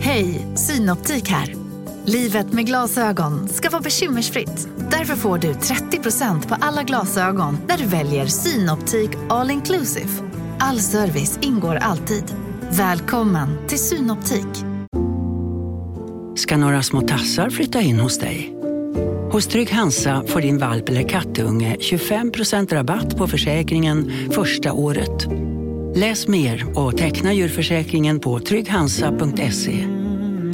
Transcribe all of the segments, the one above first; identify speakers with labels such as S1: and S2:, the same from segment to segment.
S1: Hej, Synoptik här. Livet med glasögon ska vara bekymmersfritt. Därför får du 30% på alla glasögon när du väljer Synoptik All Inclusive. All service ingår alltid. Välkommen till Synoptik.
S2: ska några små tassar flytta in hos dig. Hos Trygg Hansa får din valp eller kattunge 25% rabatt på försäkringen första året. Läs mer och teckna djurförsäkringen på trygghansa.se.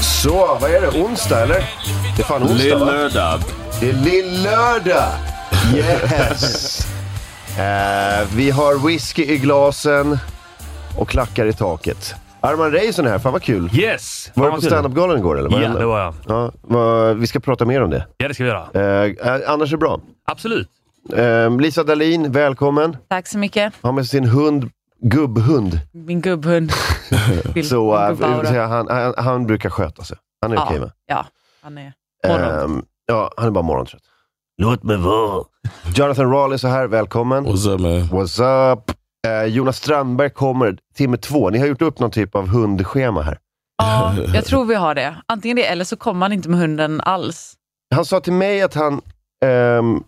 S3: Så, vad är det? Onsdag eller? Det är fan onsdag va?
S4: Lill-lördag.
S3: Det är lill-lördag! Yes! Eh, vi har whisky i glasen och klackar i taket. Arman Reizon här, fan vad kul.
S5: Yes!
S3: Var
S5: Fan,
S3: du
S5: vad
S3: på
S5: kul.
S3: standup-galan igår eller?
S5: Ja,
S3: hände?
S5: det var jag.
S3: Ja, vad- vi ska prata mer om det.
S5: Ja, det ska vi göra.
S3: Eh, eh, annars är det bra.
S5: Absolut.
S3: Eh, Lisa Dahlin, välkommen.
S6: Tack så mycket.
S3: Har med sin hund, gubbhund.
S6: Min gubbhund. Vill-
S3: Så eh,
S6: min gubbaura.
S3: säga, han, han, han brukar sköta sig. Han är
S6: Ja.
S3: okej va?
S6: Ja, han är...
S3: Ehm, ja, han är bara morgontrött.
S4: Låt mig vara.
S3: Jonathan Rahl är så här, välkommen.
S4: Och sen med...
S3: What's up? Eh, Jonas Strandberg kommer timme två. Ni har gjort upp någon typ av hundschema här.
S6: Ja, jag tror vi har det. Antingen det eller så kommer han inte med hunden alls.
S3: Han sa till mig att han... ehm,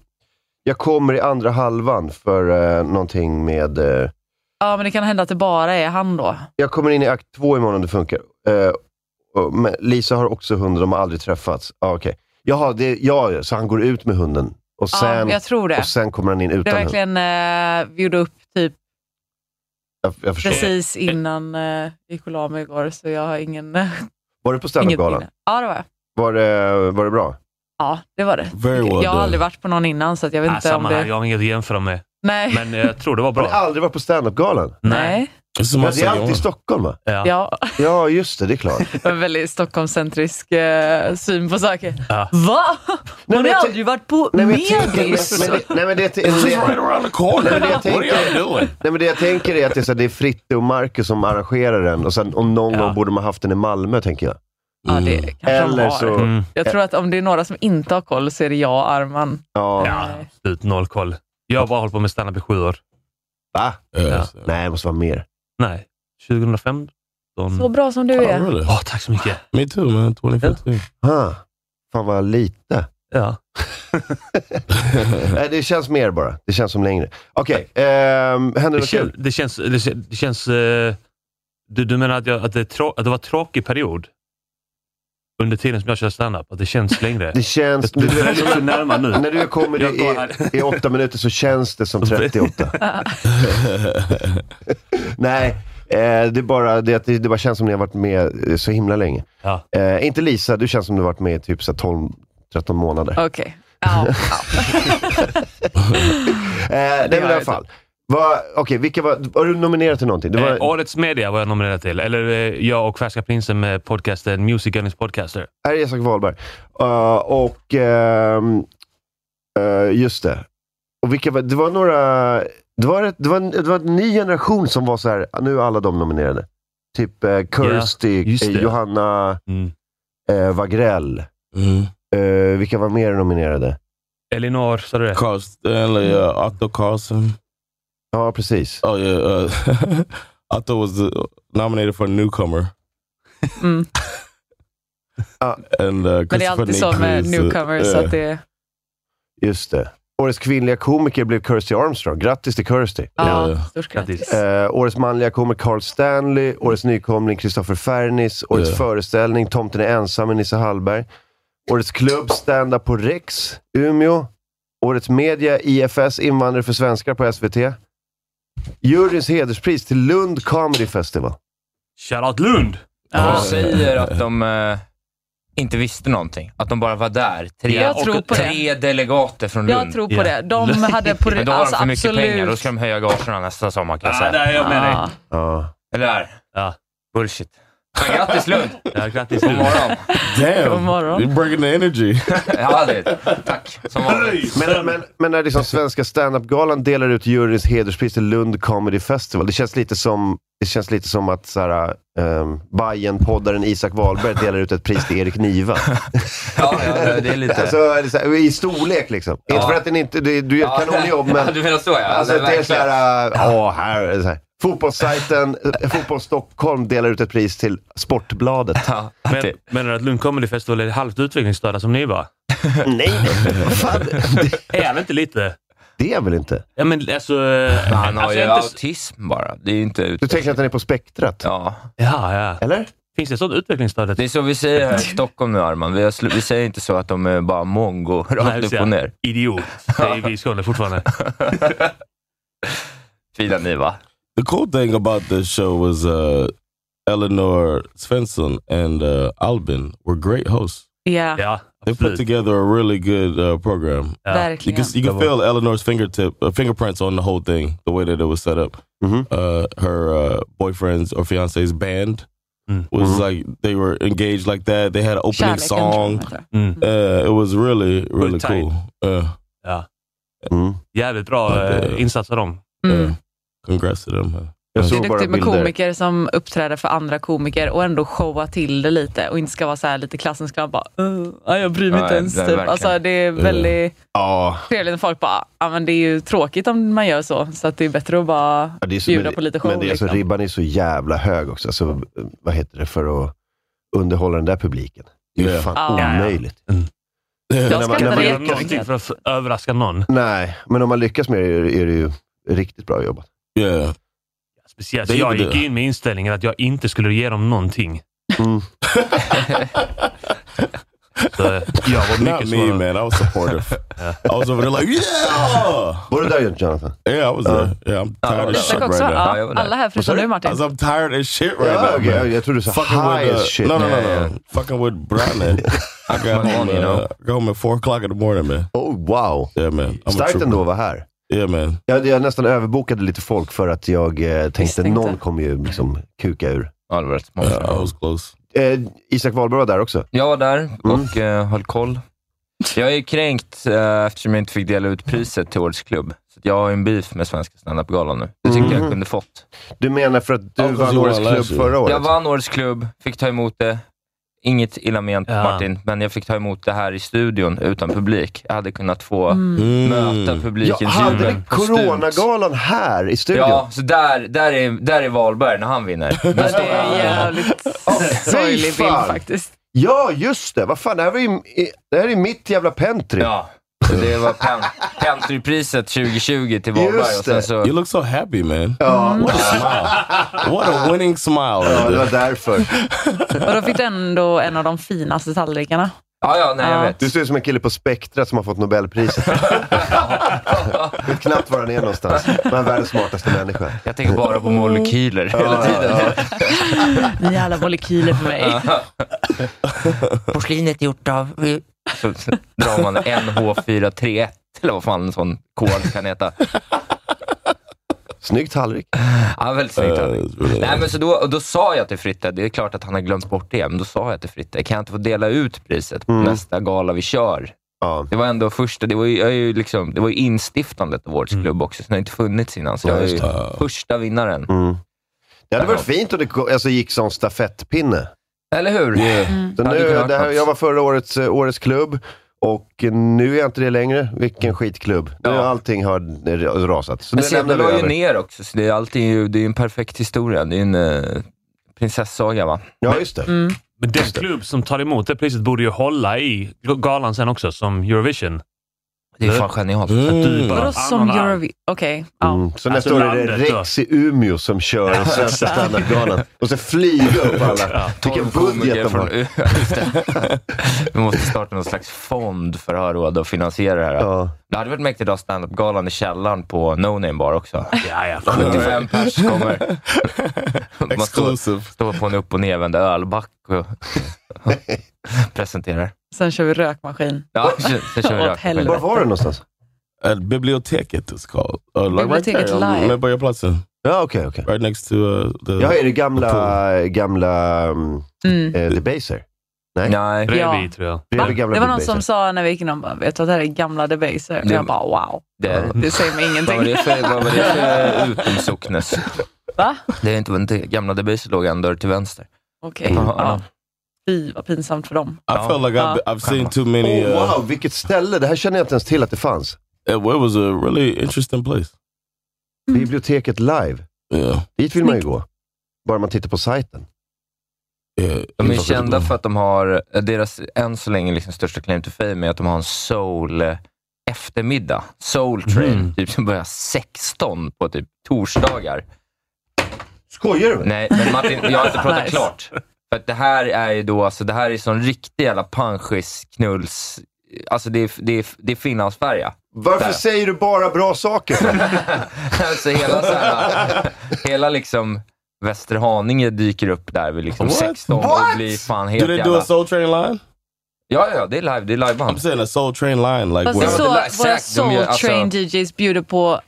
S3: jag kommer i andra halvan för uh, någonting med... eh,
S6: Ja, men det kan hända att det bara är han då.
S3: jag kommer in i akt två imorgon om det funkar. Eh, och- men Lisa har också hund, de har aldrig träffats. Ah, okay. Jaha, det, ja, så han går ut med hunden och
S6: Ja,
S3: sen,
S6: jag tror det.
S3: och sen kommer han in
S6: Det är
S3: utan hund.
S6: verkligen, eh, vi gjorde upp typ
S3: Jag, jag förstår.
S6: precis innan eh, vi gick och la mig igår, så jag har ingen,
S3: Var du på
S6: inget
S3: standupgalan?
S6: minne. Ja, det var jag.
S3: Var det, var det bra?
S6: Ja, det var det.
S4: Very well
S6: Jag har
S4: done.
S6: aldrig varit på någon innan, så att jag vet
S5: Äh,
S6: inte om
S5: samma
S6: det...
S5: här, jag har inget att jämföra med.
S6: Nej.
S5: Men eh, jag tror det var
S3: Har ni
S5: bra.
S3: aldrig varit på standupgalan?
S6: Nej.
S4: Det är som
S3: Ja, det
S4: man
S3: är
S4: säger,
S3: alltid i Stockholm va?
S5: Ja.
S6: Ja,
S3: Ja, just det. Det är klart.
S6: en väldigt Stockholmscentrisk eh, syn på saker.
S5: Ja.
S6: Va?
S3: men
S6: Har ni
S3: jag ty-
S6: aldrig varit på
S3: Nej, men jag tänker-
S6: medis?
S3: men det- Nej men det- det-
S4: It's just right around the corner.
S3: Nej, men jag
S4: What are
S3: tänker-
S4: you doing?
S3: nej, men det jag tänker är att det är, så här, det är Fritte och Marcus som arrangerar den. Och sen, om någon
S5: Ja.
S3: gång borde man haft den i Malmö, tänker jag.
S6: Ja, det kanske de
S3: Eller
S6: har.
S3: så...
S5: Mm.
S6: Jag tror att om det är några som inte har koll så är det jag och Arman. Eh,
S3: Ja.
S5: Ja, Mm. absolut. Noll koll. Jag har bara hållit på med standup i sju år.
S3: Va?
S4: Ja.
S3: Nej, det måste vara mer.
S5: Nej. 2015.
S6: Så bra som du
S4: Oh,
S6: är.
S4: really?
S5: Åh, tack så mycket.
S4: Me too man, 2015.
S3: Ah, fan vad lite.
S5: Ja.
S3: Nej, det känns mer bara. Det känns som längre. Okej, ehm, händer
S5: Det,
S3: något kul?
S5: kän, det känns... Det, kän- det känns eh, du, du menar att, jag, att, det, är trå- att det var en tråkig period under tiden som jag körde standup? Att det känns längre?
S3: Det känns... Du,
S5: Det är så närmare nu.
S3: när du kommer
S5: Jag går här.
S3: i, i åtta minuter så känns det som 38. Nej, eh, det, är bara, det, att det, det bara känns som ni har varit med eh, så himla länge.
S5: Ja.
S3: Eh, inte Lisa, du känns som du har varit med i typ så här 12, 13 månader.
S6: Okej. Ja.
S3: Eh, nej, men i
S6: har
S3: alla
S6: jag
S3: fall. Va, okej, vilka var, var du nominerad till någonting? Det var,
S5: Eh, årets media var jag nominerad till. Eller eh, jag och Färska Prinsen med podcasten Music Gunnings Podcaster.
S3: Här är Isak Wahlberg. Eh, och... ehm, eh, just det. Och vilka var, det var några... Det var, ett, det, var en, det var en ny generation som var så här. nu är alla de nominerade. Typ eh, Kirsty,
S5: just
S3: eh,
S5: det.
S3: Johanna
S5: Mm.
S3: eh, Wagrell.
S4: Mm.
S3: Eh, vilka var mer nominerade?
S5: Elinor, sa du det?
S4: Carl Stanley, uh, Otto Carlson.
S3: Ja, precis.
S4: Oh yeah, uh, Otto was uh, nominated for newcomer.
S6: Mm.
S4: And, uh,
S6: Men det är alltid så med newcomers. Så att det,
S3: Just det. Årets kvinnliga komiker blev Kirsty Armstrong. Grattis till Kirsty.
S6: ja,
S4: Ja.
S6: stort grattis.
S3: Eh, årets manliga kommer Carl Stanley, årets nykomling Kristoffer Fernis, årets
S4: Ja.
S3: föreställning Tomten är ensam med Nisse Hallberg, årets klubb Stand Up på Rex, Umeå, årets media IFS Invandrare för svenskar på SVT, juryns hederspris till Lund Comedy Festival.
S5: Shoutout Lund!
S7: De
S6: Ja.
S4: Ja.
S7: säger att de eh, inte visste någonting. Att de bara var där. Tre,
S6: Jag tror
S7: och,
S6: på det.
S7: tre delegater från Lund.
S6: Jag tror på
S5: Ja.
S6: det. De hade på
S7: Men Eh, då har
S6: alltså,
S7: de för mycket
S6: absolut.
S7: pengar. Då ska de höja gagerna nästa sommar kan jag
S5: Ja,
S7: säga.
S5: Ah, där är jag med dig.
S6: Ja.
S3: Ja.
S7: Eller hur?
S5: Ja.
S7: Bullshit. Men grattis Lund!
S5: Ja, grattis
S7: God
S5: du.
S7: morgon.
S4: Damn,
S6: God morgon.
S4: you're bringing the energy.
S7: Ja, det, tack. Som vanligt.
S3: Men, men, men när liksom Svenska standup-galan delar ut juryns hederspris till Lund Comedy Festival, det känns lite som, det känns lite som att så här, ehm, Bajen-poddaren Isak Wahlberg delar ut ett pris till Erik Niva.
S7: Ja, ja, det är lite...
S3: Alltså, det är så här, I storlek liksom. Inte för att den inte, du, du gör
S7: Ja,
S3: ett kanonjobb, men...
S7: Ja, du menar så ja.
S3: Alltså,
S7: Nej,
S3: det är så
S7: verkligen.
S3: här, äh, åh, här, är det så här. Fotbollssajten eh, Fotboll Stockholm delar ut ett pris till Sportbladet.
S7: Ja,
S5: Men,
S7: typ.
S5: menar du att Lund Comedy Festival är halvt utvecklingsstörda som ni var?
S3: Nej, vad fan, det,
S5: Är han inte lite?
S3: det är väl inte?
S5: Ja, men alltså...
S7: Men Han har
S5: alltså,
S7: ju
S5: jag är inte...
S7: autism bara. Det är ju inte
S3: Du
S7: ut...
S3: tänker att den är på spektrat?
S7: Ja.
S5: Ja, ja.
S3: Eller?
S5: Finns det sånt utvecklingsstörd?
S7: Det är så vi säger här i Stockholm nu Arman. Vi, har slu- vi säger inte så att de är bara mongo
S5: Nej,
S7: rakt
S5: just
S7: upp
S5: det.
S7: och ner.
S5: Idiot, säger vi i Skåne fortfarande.
S7: Fina ni va?
S4: The cool thing about this show was uh, Eleanor Svensson and uh, Albin were great hosts.
S6: Ja,
S5: Ja,
S4: They put
S5: absolut.
S4: together a really good uh, program.
S5: Ja.
S4: You
S6: verkligen.
S4: can, you can
S5: That
S4: feel Eleanor's fingertip, uh, fingerprints on the whole thing, the way that it was set up.
S3: Mhm.
S4: Uh, her uh, boyfriend's or fiance's band
S5: Mm.
S4: was
S3: Mhm.
S4: like they were engaged like that. They had an opening
S6: Kärleken. tror jag
S4: song.
S6: att det är.
S5: Mm.
S4: Uh, it was really really
S5: tight.
S4: cool. Uh,
S3: Mm.
S4: Mm-hmm.
S5: Jävligt bra
S4: Ja, det-
S5: eh, insats av dem.
S6: Mm.
S4: uh, congrats to them.
S3: Jag
S6: Det
S3: såg
S6: är
S3: bara
S6: duktigt med
S3: bilder.
S6: komiker som uppträder för andra komiker och ändå showa till det lite och inte ska vara så här lite klassens glad bara "Uh, nej, jag bryr mig
S7: Nej,
S6: inte ens.
S7: det är
S6: Typ.
S7: verkligen.
S6: Alltså, det är väldigt
S3: Ja,
S6: trevligt när folk bara, ja men det är ju tråkigt om man gör så, så att det är bättre att bara
S3: det är så,
S6: bjuda på lite show.
S3: men det är så,
S6: liksom.
S3: ribban är så jävla hög också. Alltså, eh, vad heter det för att underhålla den där publiken? Det är ju
S4: Ja.
S3: fan
S6: Ja, ja.
S3: omöjligt. när
S6: Jag
S3: man-
S6: ska
S3: när
S6: inte
S3: man
S5: Gör
S3: gör
S6: vara
S5: någonting
S6: jätterädd.
S5: för att överraska någon.
S3: Nej, men om man lyckas med det är det är det ju riktigt bra jobbat.
S4: Yeah,
S5: Speciellt,
S4: Det
S5: jag
S4: gjorde
S5: gick
S4: du.
S5: in med inställningen att jag inte skulle ge dem någonting.
S3: Mm.
S5: Så jag var
S4: not
S5: mycket
S4: me,
S5: svårare.
S4: man. I was supportive. I was over there like, yeah,
S3: Var du där Jonathan?
S4: yeah. I was
S3: Uh,
S4: there. Yeah, I'm
S7: I
S4: tired of
S7: was
S4: shit
S6: Isak
S4: right
S6: också?
S4: now.
S7: Ja, jag
S6: Ja,
S7: var där.
S6: alla här förutom
S4: Sorry?
S6: du Martin.
S4: As I'm tired as shit right
S3: Ja,
S4: now.
S3: okej.
S4: man.
S3: Jag tror du sa
S4: fucking
S3: high
S4: with uh,
S3: as shit.
S4: No, no, no,
S7: Yeah,
S4: no. Fucking with Brian. I got
S7: Come
S4: home,
S7: on, you
S4: uh,
S7: know.
S4: got home at four o'clock in the morning, man.
S3: Oh, wow.
S4: Yeah, man. I'm a
S3: Starkt
S4: trooper.
S3: ändå att vara här.
S4: Yeah, man.
S3: Jag, jag nästan överbokade lite folk för att jag eh, tänkte
S6: Misstänkte.
S3: någon kommer ju liksom kuka ur.
S7: Albert.
S4: Yeah, Uh, I was close.
S3: Eh, Isak Wahlberg var där också.
S7: Jag var där
S3: Mm.
S7: och eh, höll koll. Jag är kränkt eh, eftersom jag inte fick dela ut priset till Årets klubb. Så att jag har ju en beef med Svenska standup-galan nu. Det tycker
S3: Mhm.
S7: jag kunde fått.
S3: Du menar för att du
S4: Ja,
S3: vann
S4: Johan
S3: Årets
S4: lär
S3: klubb
S4: sig.
S3: förra året?
S7: Jag vann Årets klubb, fick ta emot det. Inget illa ment
S5: Ja.
S7: Martin, men jag fick ta emot det här i studion utan publik. Jag hade kunnat få
S4: Mm.
S7: möta
S3: Jag
S7: publikens
S3: hade
S7: jubel på Stut.
S3: coronagalan här i studion.
S7: Ja, så där, där, är, där är Wahlberg när han vinner. Där
S6: Ja,
S7: står
S6: det är en
S7: han.
S6: jävligt sorglig bild
S3: fan.
S6: faktiskt.
S3: Ja, just det. Vad fan, det här, var ju, det här är mitt jävla pentry.
S7: Ja, så det var pen, Pentrypriset 2020 till Wahlberg.
S3: Just
S7: Och sen
S3: det.
S7: så,
S4: You look so happy, man.
S3: Ja,
S4: What a smile. What a winning smile. Uh,
S3: ja, det var därför.
S6: Och då fick du ändå en av de finaste tallrikarna.
S7: ja, ja, nej, jag
S6: Ja.
S7: vet.
S3: Du ser ut som en kille på spektrat som har fått Nobelpriset. Jag vet knappt var han är någonstans. Men han är världens smartaste människa.
S7: Jag tänker bara på molekyler hela tiden.
S6: Ni är alla molekyler för mig.
S7: Porslinet är gjort av... Så drar man NH431, eller vad fan en sån kod kan heta.
S3: Snygg tallrik.
S7: Ja, väldigt
S4: Uh,
S7: snyggt.
S3: Eh.
S7: Henrik.
S4: it's really
S7: Nej,
S4: nice.
S7: men så då, och då sa jag till Fritte, det är klart att han har glömt bort det, men då sa jag till Fritte, kan jag inte få dela ut priset på
S3: Mm.
S7: nästa gala vi kör?
S3: Ja.
S7: Det var ändå första, det var ju, jag är ju, liksom, det var ju instiftandet av Årets
S5: Mm.
S7: klubb också, så det har inte funnits innan. Så
S3: Ja,
S7: jag är
S3: just
S7: ju
S4: det.
S7: första vinnaren.
S3: Mm. Det hade varit fint om det ko- alltså, gick som stafettpinne.
S7: Eller hur?
S3: Så
S7: Ja, det
S3: nu,
S7: kunde varit
S3: det här,
S7: något.
S3: jag var förra årets, eh, årets klubb och nu är jag inte det längre. Vilken skitklubb. Nu
S7: Ja.
S3: har allting har eh, rasat. Så nu
S7: Men sen
S3: lämnar vi
S7: la ju
S3: över.
S7: ner också, så det är, alltid, ju- det är ju en perfekt historia. Det är en eh, prinsessaga, va?
S3: Ja, just det.
S6: Mm.
S5: Men den klubb som tar emot det priset borde ju hålla i galan sen också, som Eurovision.
S7: Det är fan genialt.
S4: Mm.
S5: Du bara "Ah,
S6: Vadå som
S5: ananas.
S6: Eurovision? Okej. ja.
S3: Mm. Så
S5: Alltså
S3: nästa år är det
S5: landet då.
S3: Rex i Umeå som kör den svenska standardgalan. Och så flyga upp alla. Vilken budget de
S7: från
S3: har.
S7: Ö. Just det. Vi måste starta någon slags fond för att ha råd att finansiera det här.
S3: Ja.
S7: Det hade varit mäktigt att ha standup-galan i källaren på No Name Bar också.
S5: Ja, ja.
S7: 75 pers kommer. Man står,
S4: Exclusive.
S7: står på en upp och nervänd ölback och presenterar.
S6: Sen kör vi rökmaskin.
S7: Ja, sen- sen kör
S6: Åt
S7: vi rökmaskin.
S6: helvete.
S3: Var var det någonstans?
S4: At Biblioteket is called. Uh, like
S6: Biblioteket
S4: right there,
S6: Live.
S4: on Medborgarplatsen.
S3: Ja, okej, okej.
S4: Right next to uh,
S7: Mm.
S4: the...
S3: Ja, är det gamla, gamla um,
S6: Mm.
S3: eh, Debaser?
S7: Nej.
S5: Bredvid, tror jag.
S3: Det, är det, gamla
S6: Det var någon
S3: Debaser.
S6: som sa när vi gick in, de bara, vet du att det här är gamla Debaser? Och
S7: Det-
S6: jag bara, wow.
S7: Det är,
S6: Det säger mig
S7: vad var
S6: ingenting.
S7: det för, vad var det för utomsocknes?
S6: Va?
S7: Det är inte, inte gamla Debaser låg en dörr till vänster.
S6: Okej.
S7: Ja,
S6: Ja. Fy, vad pinsamt för dem.
S4: I felt like I've, I've seen too many...
S3: Oh,
S7: eh,
S4: Uh,
S3: wow, vilket ställe! Det här känner jag inte ens till att det fanns.
S4: it was a really interesting place.
S6: Mm.
S3: Biblioteket live.
S4: Yeah.
S3: Dit vill man ju gå. Bara man tittar på sajten.
S4: yeah.
S7: De är kända för att de har, eh, deras än så länge liksom största claim to fame är att de har en soul eh, eftermiddag, soul train,
S5: Mm.
S7: typ som börjar 16 på typ torsdagar.
S3: Skojar du?
S7: Nej, men Martin, jag har inte pratat
S6: Nice.
S7: klart. För att det här är ju då, alltså det här är sån riktig jävla panschis, knulls, alltså det är, det är, det är Finlandsfärja.
S3: Varför
S7: Där.
S3: säger du bara bra saker? för?
S7: Alltså hela så här, hela liksom Västerhaninge dyker upp där vid liksom
S4: What?
S7: 16
S3: What?
S7: och blir fan
S4: Do
S7: helt
S4: they do
S7: jävla...
S4: a Soul Train line?
S7: Ja, ja, det är live, det är
S4: I'm
S7: liveband.
S4: saying a Soul Train line. Like,
S6: Fast det
S4: where-
S6: är så
S7: det lär-
S6: att våra
S7: säkert, de gör-
S6: Soul
S7: alltså-
S6: Train DJs bjuder på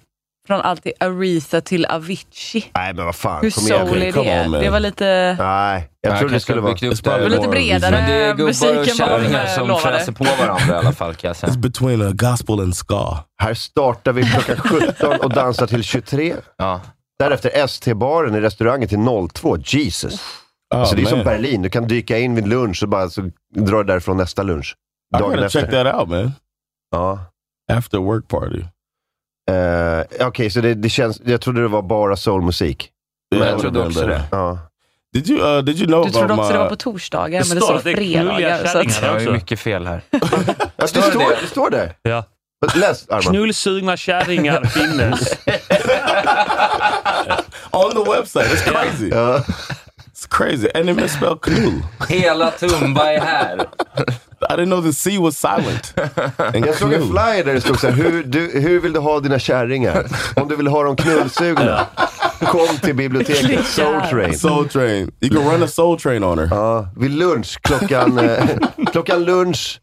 S6: från alltid Aretha till Avicii.
S3: Nej, men vad fan.
S6: Hur
S3: Kom igen.
S6: soul är
S4: Rick. Come
S6: det?
S4: on, man.
S6: det var lite...
S3: Nej, jag
S7: Ja,
S3: trodde det
S7: kanske
S3: skulle
S7: har
S3: vara...
S7: byggt upp
S4: Det var
S7: där.
S4: lite
S7: Morgon.
S6: bredare
S7: Men det är gubbar och
S6: musik än vad de,
S7: kärringar
S6: eh,
S7: som
S6: lovade.
S7: fräser på varandra i alla fall kan jag säga.
S4: It's between a gospel and ska.
S3: Här startar vi klockan 17 och dansar till 23.
S7: Ja.
S3: Därefter ST-baren i restaurangen till 02. Jesus.
S4: Oh,
S3: så Alltså, det är som
S4: man.
S3: Berlin. Du kan dyka in vid lunch och bara så drar du därifrån nästa lunch.
S4: I gotta
S3: Dagen
S4: check
S3: efter.
S4: that out, man.
S3: Ja.
S4: After work party.
S3: Eh, Okej, så det, det känns... Jag trodde det var bara soulmusik.
S4: Yeah,
S7: jag
S4: would've
S7: trodde
S4: been
S7: också
S4: better.
S7: det.
S3: Ja.
S4: Did you uh, did you know
S6: Du
S4: about
S6: trodde också
S4: my
S6: det
S7: äh.
S6: var på torsdagar,
S5: Det
S6: men det
S5: står
S6: står
S5: att det är
S6: fredagar.
S5: knulliga
S6: Så att,
S5: kärringar.
S7: Jag har ju
S5: också.
S7: mycket fel här.
S3: Ja, det,
S7: det
S3: står,
S7: det?
S3: det står där.
S5: Ja.
S3: Läs, Arman.
S5: Knullsugna kärringar finnes.
S4: uh, on the website? It's crazy.
S3: Ja.
S4: It's crazy, and it misspelled canoe.
S7: Hela Tumba är här.
S4: I didn't know the C was silent. And
S3: Jag såg en
S4: canoe.
S3: flyer där det stod så här, hur, du, hur vill du ha dina kärringar? Om du vill ha dem knullsugna, kom till biblioteket Soul Train.
S4: Soul Train. You can run a Soul Train on her.
S3: Ja, vid lunch, klockan, eh, klockan lunch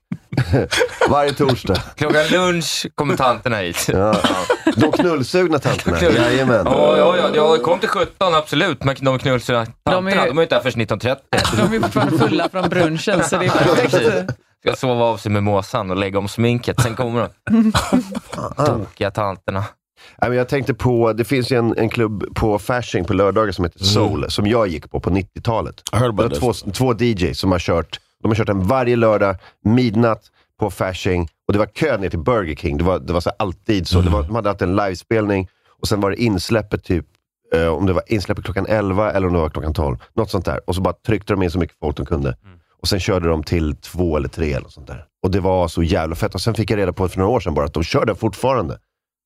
S3: varje torsdag.
S7: Klockan lunch kommer tanterna hit. Ja,
S3: De knullsugna tanterna,
S7: Knull-
S3: jajamän.
S7: ja, ja, jag kom till 17 absolut, men de knulliga
S6: De
S7: tanterna,
S6: är-
S7: de är inte här förrän 19.30.
S6: de är fortfarande fulla från brunchen, så det är perfekt.
S7: Ska sova av sig med måsan och lägga om sminket, sen kommer de. Tokiga tanterna.
S3: Nej, men Jag tänkte på, det finns ju en, en klubb på Fasching på lördagar som
S7: Mm.
S3: heter Soul, som jag gick på på 90-talet.
S4: I
S3: Det
S4: heard about
S3: var
S4: this.
S3: två, två DJs som har kört, de har kört den varje lördag, midnatt, på Fasching. Och det var kö ner till Burger King. Det var, det var så här alltid så. Det
S7: Mm.
S3: var, de hade haft en livespelning och sen var det insläppet typ, eh, om det var insläppet klockan 11 eller om det var klockan 12. Något sånt där. Och så bara tryckte de in så mycket folk de kunde. Och sen körde de till två eller tre eller något sånt där. Och det var så jävla fett. Och sen fick jag reda på för några år sedan bara att de kör den fortfarande.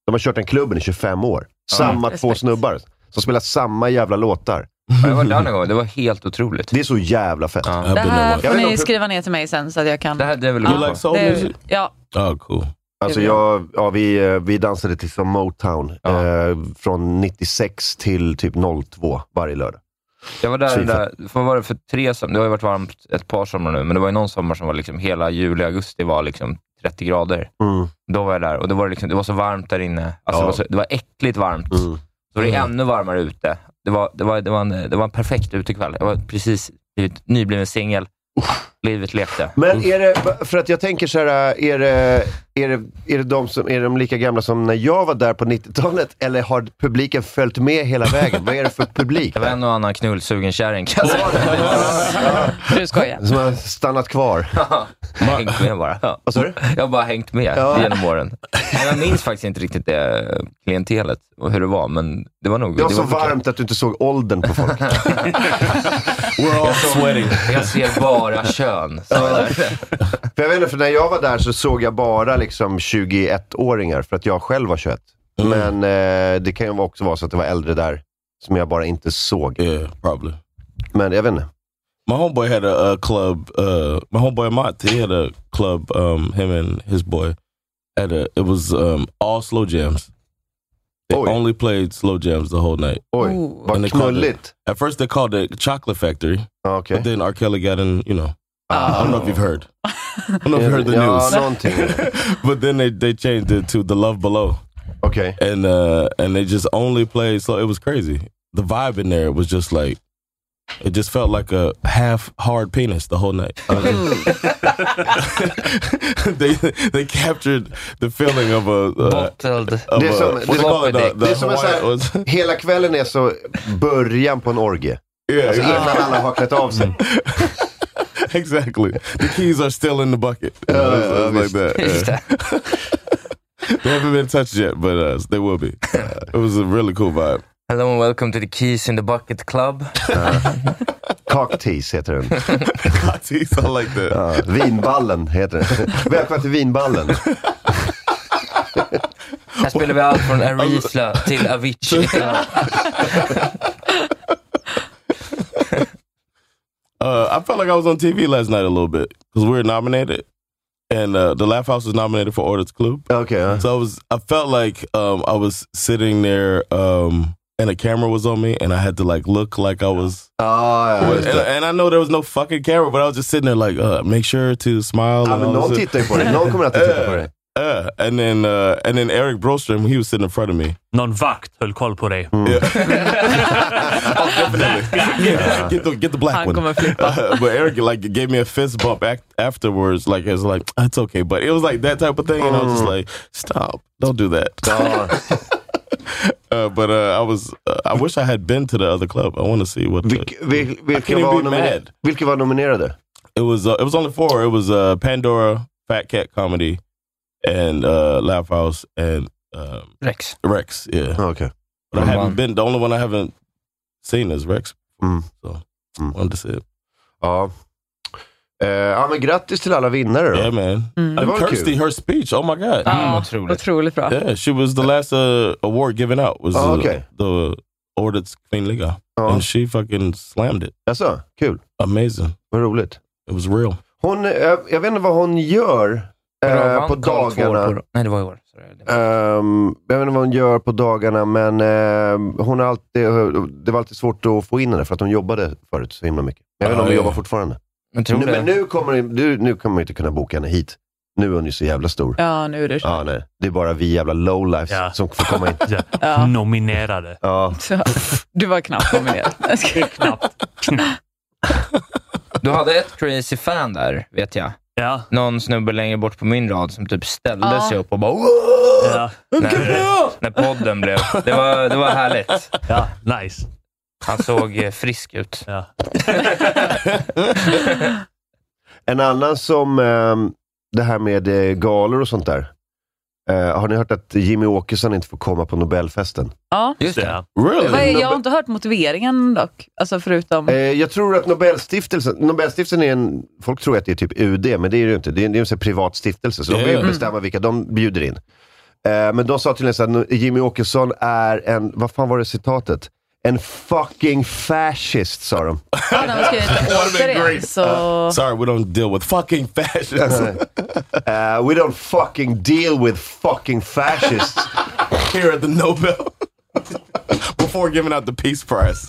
S3: De har kört den klubben i 25 år. Samma två
S6: respekt.
S3: snubbar som spelar samma jävla låtar.
S7: Ja, Jag var där någon gång, det var helt otroligt.
S3: Det är så jävla fett.
S7: Ja.
S4: I've
S6: Det
S4: been
S6: här
S4: there
S3: Jag
S6: får
S3: vet inte om-
S6: ni skriva ner till mig sen så att jag kan...
S7: Det här det vill
S4: once.
S7: jag
S4: You
S7: gå
S4: like
S7: på.
S4: soul
S6: Det,
S4: music?
S6: ja,
S4: Oh, cool.
S3: Alltså
S6: Det vill
S3: jag, ja, vi, eh, vi dansade till som Motown
S7: Ja.
S3: eh, från 96 till typ 02 varje lördag.
S7: Jag var där,
S3: Syfat.
S7: där vad var det för tre som, det har ju varit varmt ett par somrar nu, men det var ju någon sommar som var liksom hela juli, augusti var liksom 30 grader.
S3: Mm,
S7: Då var jag där och det var, det liksom, det var så varmt där inne.
S3: Ja.
S7: Alltså det, var så, det var äckligt varmt.
S3: mm.
S7: Så var det ännu varmare ute. Det var, det var, det var, en, det var en perfekt utekväll. Jag var precis blivit, nybliven singel. Livet lekte.
S3: Men är det, för att jag tänker så här, är det, är det, är det de som är de lika gamla som när jag var där på 90-talet? Eller har publiken följt med hela vägen? Vad är det för publik?
S7: Det var en och annan knullsugen kärring kan jag säga.
S6: du skojar.
S3: Som har stannat kvar? Alltså,
S7: Jag har hängt med bara. Ja.
S3: Vad sa du?
S7: Jag har bara hängt med
S3: Ja.
S7: genom åren. Men Jag minns faktiskt inte riktigt det klientelet och hur det var, men det var nog...
S3: Det var så
S7: okej.
S3: varmt att du inte såg åldern på folk.
S4: We're all sweating.
S7: Jag ser bara kön. kön, sa jag där.
S3: För jag vet inte, för när jag var där så såg jag bara liksom 21-åringar, för att jag själv var 21.
S4: Mm.
S3: Men eh, det kan ju också vara så att det var äldre där som jag bara inte såg.
S4: Yeah, probably.
S3: Men jag vet inte.
S4: My homeboy had a, uh club. Uh, my homeboy Amat, he had a club. Um, him and his boy had a. It was um, all slow jams. They
S3: Oh, yeah.
S4: only played slow jams the whole night.
S3: Oj,
S6: Oh.
S4: Men det
S3: vad
S4: är klart det-
S3: knulligt.
S4: At first, they called it Chocolate Factory,
S3: Ja, Okej.
S4: but then R. Kelly got in. You know, I don't know if
S3: Oh.
S4: you've heard. I don't know if you heard the
S3: Ja,
S4: news.
S3: någonting.
S4: but then they, they changed it to the Love Below,
S3: Okej.
S4: and uh, and they just only played. So it was crazy. The vibe in there was just like. It just felt like a half hard penis the whole night. they they captured the feeling of a. Uh,
S7: Bottled.
S4: of
S3: Det är
S4: a-
S3: som-
S4: what
S3: det är
S4: they call it, the-
S7: som-
S4: the
S3: det är som en sån här-
S4: Hawaiian- was-
S3: Hela kvällen är så början på en orgie.
S4: Yeah,
S3: Alltså
S4: exactly.
S3: innan alla har klätt av sig.
S4: exactly. The keys are still in the bucket. You know, it's-
S3: Uh,
S4: it's like that.
S7: Just
S4: yeah.
S7: det.
S4: They haven't been touched yet, but uh, they will be. it was a really cool vibe.
S7: Hello and welcome to the Keys in the Bucket Club.
S3: Cocktease heter den.
S4: Hot teas, I like that.
S3: Ja, vinballen heter den. Välkomna till vinballen.
S7: Här spelar vi allt från Arifla till Avicii.
S4: Uh, I felt like I was on TV last night a little bit because we were nominated, and uh, the Laugh House was nominated for Orders Club.
S3: Okej, ja.
S4: So I was, I felt like um, I was sitting there, um, and a camera was on me, and I had to like look like I was.
S3: ja. ja,
S4: and,
S3: just det.
S4: and I know there was no fucking camera, but I was just sitting there like, uh, make sure to smile.
S3: Ja,
S4: and
S3: men
S4: all
S3: någon
S4: this-
S3: tittar ju på dig. Någon kommer alltid titta på dig.
S4: Uh, and then, uh, and then Eric Brostrom, he was sitting in front of me.
S5: Någon vakt höll koll på dig.
S4: Yeah, get the get the black
S6: Han
S4: one.
S6: kommer flippa.
S4: Uh, but Eric like gave me a fist bump act afterwards. Like it's like it's okay, but it was like that type of thing, and I was just like, stop, don't do that.
S3: Ja.
S4: Uh, but uh, I was, uh, I wish I had been to the other club. I want to see what the,
S3: Vilk, vil, vilka,
S4: even
S3: var
S4: be
S3: nomine-
S4: mad.
S3: vilka var nominerade?
S4: it was. Uh, it was only four. It was uh, Pandora, Fat Cat Comedy, and uh, Laugh House, and um,
S7: Rex.
S4: Rex. Yeah,
S3: Ja, Okej.
S4: but I
S7: Roman.
S4: haven't been. The only one I haven't seen is Rex.
S3: Mm.
S4: So
S3: Mm.
S4: wanted to see it.
S3: Ja. Eh, ja, men grattis till alla vinnare då.
S4: Yeah, man.
S3: Det
S4: And
S3: var kul.
S4: Kirsty, her speech. Oh my god.
S6: Ja,
S7: otroligt.
S6: otroligt bra.
S4: Yeah, she was the last uh, award given out was
S3: Oh,
S4: uh,
S3: okay. Uh-huh.
S4: the Ordets Queen Liga,
S3: Ja.
S4: and she fucking slammed it.
S3: Jaså, kul.
S4: Amazing.
S3: Vad roligt.
S4: It was real.
S3: Hon, eh, jag vet inte vad hon gör eh,
S7: Bra,
S3: på
S7: vann Karl två år
S3: dagarna.
S7: på- Nej, det var i år. Sorry. Det var-
S3: Ehm, jag vet inte vad hon gör på dagarna, men eh, hon har alltid, det var alltid svårt att få in henne för att hon jobbade förut så himla mycket. Jag vet inte om
S4: Ja,
S3: hon
S4: ja.
S3: jobbar fortfarande.
S7: Jag tror
S3: Nu,
S7: det.
S3: men nu kommer, det- nu, nu kommer vi inte kunna boka henne hit. Nu är hon ju så jävla stor.
S6: Ja, nu är det
S3: Ja, nej. Det är bara vi jävla lowlifes
S5: Ja.
S3: som får komma in.
S5: Ja.
S6: Ja.
S5: Nominerade.
S3: Ja.
S6: så. Du var knappt nominerad. Jag ska-
S5: Knappt. Knappt.
S7: Du hade ett crazy fan där, vet jag.
S5: Ja.
S7: Någon snubbe längre bort på min rad som typ ställde
S6: Ja.
S7: sig upp och bara "Åh!"
S5: ja.
S7: när, när podden blev. Det var, det var härligt.
S5: Ja. Nice.
S7: Han såg eh, frisk ut.
S5: Ja.
S3: En annan som, ehm, det här med eh, galor och sånt där. Eh, har ni hört att Jimmy Åkesson inte får komma på Nobelfesten?
S6: Ja.
S7: Just det.
S5: Ja.
S4: Really?
S6: Vad är- Jag har inte hört motiveringen dock, alltså förutom...
S3: Eh, jag tror att Nobelstiftelsen, Nobelstiftelsen är en, folk tror att det är typ UD, men det är det ju inte. Det är, det är en sån här privat stiftelse, så de vill
S4: Mm.
S3: bestämma vilka de bjuder in. Eh, men de sa tydligen så här, Jimmy Åkesson är en, vad fan var det citatet? En fucking fascist, sa de.
S6: Ja, när man ska göra återigen så...
S4: Sorry, we don't deal with fucking fashion
S3: Eh, we don't fucking deal with fucking fascists.
S4: here at the Nobel before giving out the Peace Prize.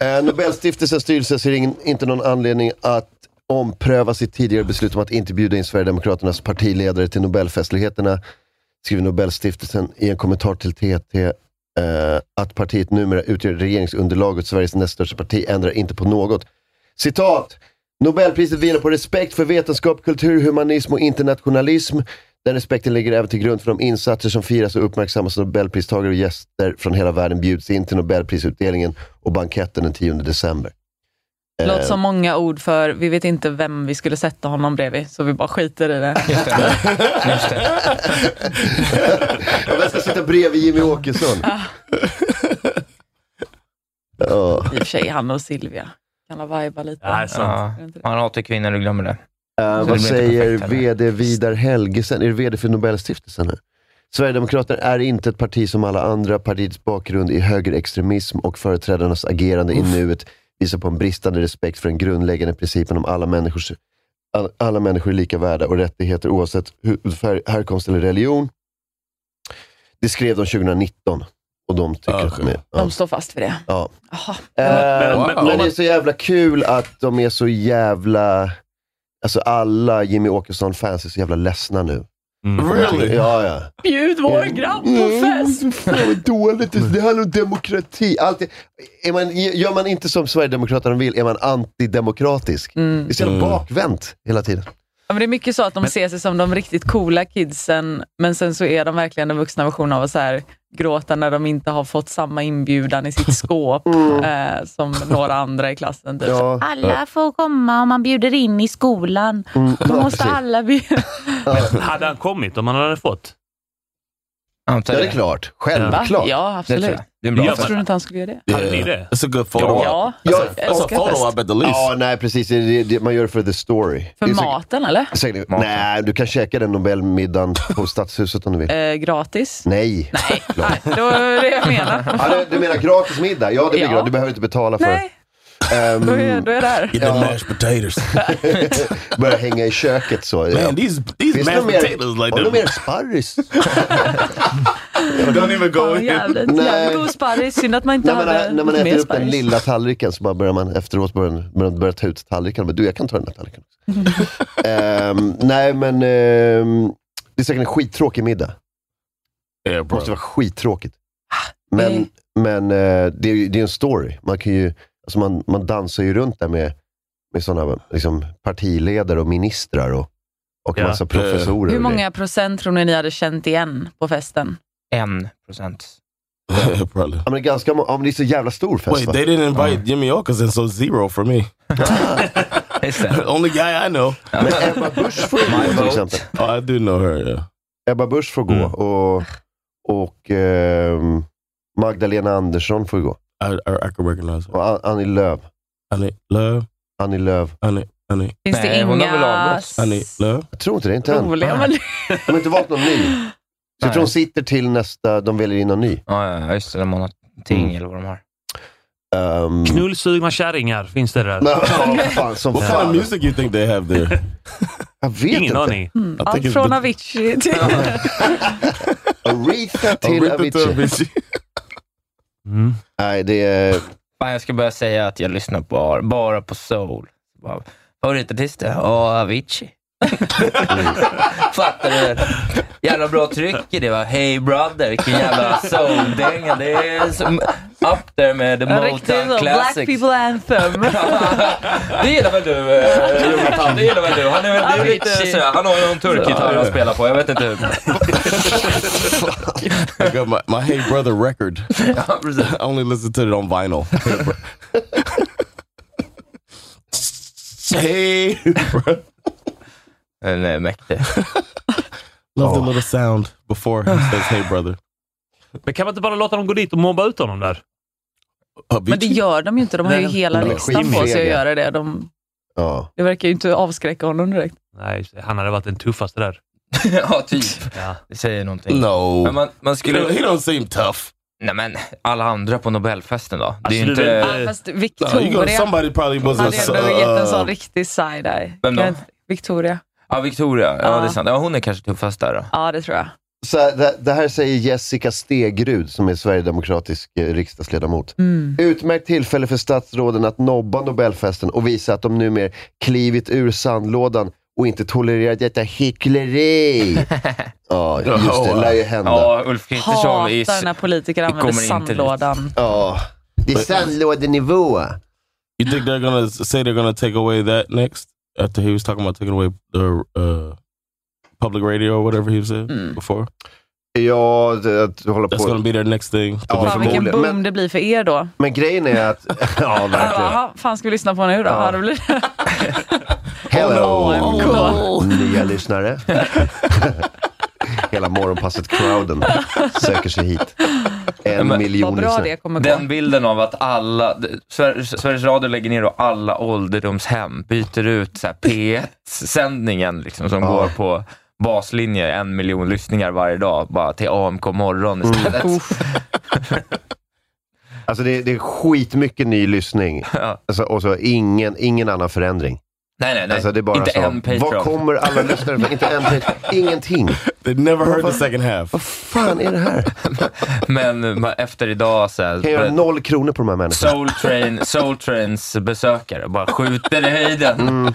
S3: Eh, Nobelstiftelsens styrelse ser ingen, inte någon anledning att ompröva sitt tidigare beslut om att inte bjuda in Sverigedemokraternas partiledare till Nobelfestligheterna, skriver Nobelstiftelsen i en kommentar till TT. Eh, att partiet numera utgör regeringsunderlaget, Sveriges näst största parti, ändrar inte på något. Citat! Nobelpriset vilar på respekt för vetenskap, kultur, humanism och internationalism. Den respekten ligger även till grund för de insatser som firas och uppmärksammas av Nobelpristagare och gäster från hela världen bjuds in till Nobelprisutdelningen och banketten den 10 december. Eh.
S6: Låter som många ord för vi vet inte vem vi skulle sätta honom bredvid, så vi bara skiter i det.
S7: Just det. Just det.
S3: Jag ska sitta bredvid Jimmy Åkesson. Ja.
S6: I och för sig, han och Silvia. kan la vajba lite.
S5: Nej, sant.
S7: Ja.
S6: Är det inte det?
S7: Han hatar kvinnor, du glömmer det.
S3: Eh,
S7: blir
S3: vad
S7: inte
S3: säger
S7: perfekt heller.
S3: VD Vidar Helgesen? Är det VD för Nobelstiftelsen? Här? Sverigedemokraterna är inte ett parti som alla andra. Partiets bakgrund i högerextremism och företrädarnas agerande i nuet visar på en bristande respekt för den grundläggande principen om alla människors all, alla människor är lika värda och rättigheter oavsett hudfärg, härkomst eller religion. Det skrev de 2019 och de tycker
S4: Ah,
S3: att de är...
S4: okej.
S3: Ja.
S6: De står fast vid det.
S3: Ja.
S6: Jaha.
S3: Eh,
S5: Men-
S3: Men,
S5: men- men-
S3: det är så jävla kul att de är så jävla... Alltså alla Jimmy Åkesson-fans är så jävla ledsna nu.
S4: Really?
S3: Ja, ja.
S6: Bjud vår grabb på fest!
S3: Mm, fan vad dåligt. Det det handlar om demokrati. Allt är, är man, gör man inte som Sverigedemokraterna vill är man antidemokratisk. Det är så jävla
S4: Mm.
S3: bakvänt hela tiden.
S6: Ja, men det är mycket så att de ser sig som de riktigt coola kidsen, men sen så är de verkligen den vuxna versionen av att så här, gråta när de inte har fått samma inbjudan i sitt skåp eh, som några andra i klassen. Typ.
S3: Mm. Ja.
S8: Alla får komma om man bjuder in i skolan.
S3: Mm,
S8: Då
S3: ja,
S8: måste
S3: precis.
S8: alla bjuda.
S5: Hade han kommit om han hade fått?
S7: Antar
S3: Ja, det är
S7: det.
S3: klart.
S6: Va?
S3: Självklart.
S6: Ja,
S7: Det tror
S6: absolut.
S7: jag. Det är en bra
S5: Ja,
S6: Jag
S7: affär.
S6: tror du inte han skulle göra det?
S5: Hade ni det?
S4: It's a good photo.
S6: Ja, Alltså,
S3: Ja,
S6: jag
S4: It's a
S6: älskar
S4: photo
S6: fest.
S4: up at the least.
S3: Ja, nej precis. Det, det, det, man gör det för the story. Det
S6: För
S3: är säkert-
S6: maten eller?
S3: säkert-
S7: Maten.
S3: Nej, du kan käka den Nobelmiddagen på Stadshuset om du vill.
S6: Eh, gratis?
S3: Nej.
S6: Nej, det var det jag menade.
S3: Ja, du, du menar gratis middag? Ja, det blir
S6: Ja.
S3: gratis. Du behöver inte betala för
S6: Nej,
S3: det. Ehm,
S6: då är, då är jag där.
S4: Get the mashed potatoes.
S3: Börja hänga i köket så. Ja.
S4: Man, these these
S3: Finns det
S4: mashed
S3: något mer,
S4: potatoes like
S3: har du mer
S4: them.
S3: sparris?
S4: Don't even go
S6: Fan,
S4: in.
S6: jävligt,
S3: Nej.
S6: jävligt god sparris. Synd att man inte
S3: när man,
S6: hade
S3: när man
S6: lite
S3: äter
S6: mer
S3: upp den
S6: sparris.
S3: lilla tallriken så bara börjar man efteråt börjar, börjar, börjar ta ut tallriken. Men du, jag kan ta den här tallriken också.
S6: Mm.
S3: Ehm, nej, men ehm, det är säkert en skittråkig middag.
S4: Yeah,
S3: Det
S4: bro.
S3: måste vara skittråkigt. Men,
S6: Mm.
S3: men eh, det, är, ju- det är en story. Man, kan ju, alltså man, man dansar ju runt där med, med sådana liksom, partiledare och ministrar och, och
S5: Ja.
S3: massa professorer.
S6: Hur
S3: och grejer.
S6: många procent tror ni ni hade känt igen på festen?
S7: En procent.
S4: Probably.
S3: Ja, men det, är ganska, må- ja, men det är så jävla stor fest.
S4: Wait,
S3: va?
S4: they didn't invite Jimmy Åkesson, so zero for me.
S7: Just det.
S4: Only guy I know.
S3: Men Ebba Busch får ju
S7: My
S3: gå till
S7: vote.
S3: exempel.
S4: Oh, I do know her. Yeah.
S3: Ebba Busch får gå
S4: Mm.
S3: och, och ehm, Magdalena Andersson får gå.
S4: I, I I can recognize her.
S3: Och An- Annie Lööf.
S4: Honey, love,
S3: Annie Lööf.
S4: honey, honey,
S6: Finns
S7: Nej,
S6: det
S7: hon har väl
S6: inga
S7: avgått.
S4: honey, love.
S3: Jag tror inte det. Inte än.
S6: roliga? Men,
S3: De har inte valt någon ny. Så jag
S7: Nej.
S3: tror hon sitter till nästa, de väljer in någon ny.
S7: Ja, ja, just det. De har någonting
S3: Mm.
S7: eller vad de har.
S3: Um,
S5: Knullsugna kärringar, finns det där?
S3: fan, som
S4: What kind
S3: fan.
S4: of music you think they have there?
S3: Jag vet
S5: Ingen
S3: inte.
S5: aning.
S6: mm,
S4: tänker
S6: allt
S4: inte-
S6: från Avicii till...
S3: Aretha
S4: Oh,
S3: till
S4: Rita to
S3: Avicii.
S4: Avicii.
S5: Mm.
S3: Nej, det är...
S7: Fan, jag ska börja säga att jag lyssnar bara, bara på soul. Bara, Favoritartister? Ja, Avicii. Fattar du? Jävla bra tryck i det va? Hey brother, vilken jävla soul-dänga. Det är som up there med the
S6: En riktig
S7: Motown
S6: sån Black
S7: Classics.
S6: people anthem.
S7: det gillar väl du, eh, Jonathan? Det gillar väl du? Han är väl det är lite
S6: Avicii.
S7: så här, Han har ju någon turkgitarr han spelar på. Jag vet inte hur.
S4: I got my, my Hey Brother record.
S7: Ja, precis.
S4: I only listen to it on vinyl. Hey, bro. hey, bro.
S7: Den är mäktig.
S4: Love the little sound before he says hey brother.
S5: Men kan man inte bara låta dem gå dit och mobba ut honom där?
S6: Men det
S4: Avicii?
S6: gör de ju inte. De har ju
S5: Nej.
S6: hela
S3: Nej,
S6: riksdagen på sig
S3: skitfega.
S6: att göra det. De,
S3: Ja.
S6: det verkar ju inte avskräcka honom direkt.
S5: Nej, han hade varit den tuffaste där.
S7: ja, typ.
S5: Ja.
S7: Det säger någonting. Men
S4: No.
S7: man, man
S4: He
S7: skulle...
S4: don't, he don't seem tough.
S7: Nej men, alla andra på Nobelfesten då? Det är ju
S5: Alltså, det är
S7: inte...
S5: väl- Eh,
S6: Fast
S4: No, Uh, you go,
S6: Victoria
S4: somebody probably was
S6: hade
S4: a.
S6: ändå gett en sån
S4: Uh,
S6: riktig side-eye.
S7: Vem då?
S6: Kan jag- Victoria.
S7: Ja, Victoria. Ja,
S6: Ja.
S7: det är sant. Ja, hon är kanske tuffast där då.
S6: Ja, det tror jag.
S3: Så här, det, det här säger Jessica Stegrud, som är sverigedemokratisk eh, riksdagsledamot.
S6: Mm.
S3: Utmärkt tillfälle för statsråden att nobba Nobelfesten och visa att de numera klivit ur sandlådan och inte tolererar detta hyckleri. ja, just det. lär ju hända.
S7: Ja, Ulf Kristersson i...
S6: Hatar när politiker använder
S7: kommer inte dit.
S6: sandlådan.
S3: Ja. Det är sandlådenivå.
S4: you think they're gonna say they're gonna take away that next after he was talking about taking away the uh, public radio or whatever he said
S6: Mm.
S4: before?
S3: Ja, det, att hålla
S4: That's
S3: på.
S4: gonna be their next thing.
S3: Ja,
S6: Fan vilken
S3: förmodligen.
S6: boom
S3: Men-
S6: det blir för er då.
S3: Men grejen är att... ja,
S6: Alla bara,
S3: verkligen.
S6: "Jaha, fan ska vi lyssna på nu då? Ja. det blir...
S3: Hello!
S6: Oh no.
S3: Nya lyssnare. Hela morgonpasset-crowden söker sig hit. en
S7: men vad
S3: miljon
S6: Vad bra
S3: lyssnare.
S6: det kommer gå.
S7: Den bilden av att alla, d- Sver- Sveriges Radio lägger ner och alla ålderdomshem byter ut så här P1-sändningen liksom, som
S3: Ja.
S7: går på baslinje, en miljon lyssningar varje dag, bara till AMK morgon istället.
S6: Mm.
S3: Alltså det, det är skitmycket ny lyssning.
S7: Ja.
S3: Alltså, och så ingen, ingen annan förändring.
S7: Nej, nej, nej.
S3: Alltså det är bara
S7: Inte
S3: så,
S7: en Patreon.
S3: Vad kommer alla lyssnare från? Inte en Patreon. Ingenting.
S4: They never heard the second half.
S3: Vad fan är det här?
S7: Men ma- efter idag så
S3: Kan jag göra
S7: här,
S3: noll kronor på de här människorna?
S7: Soul, Train, Soul Trains besökare bara skjuter i höjden.
S3: Mm.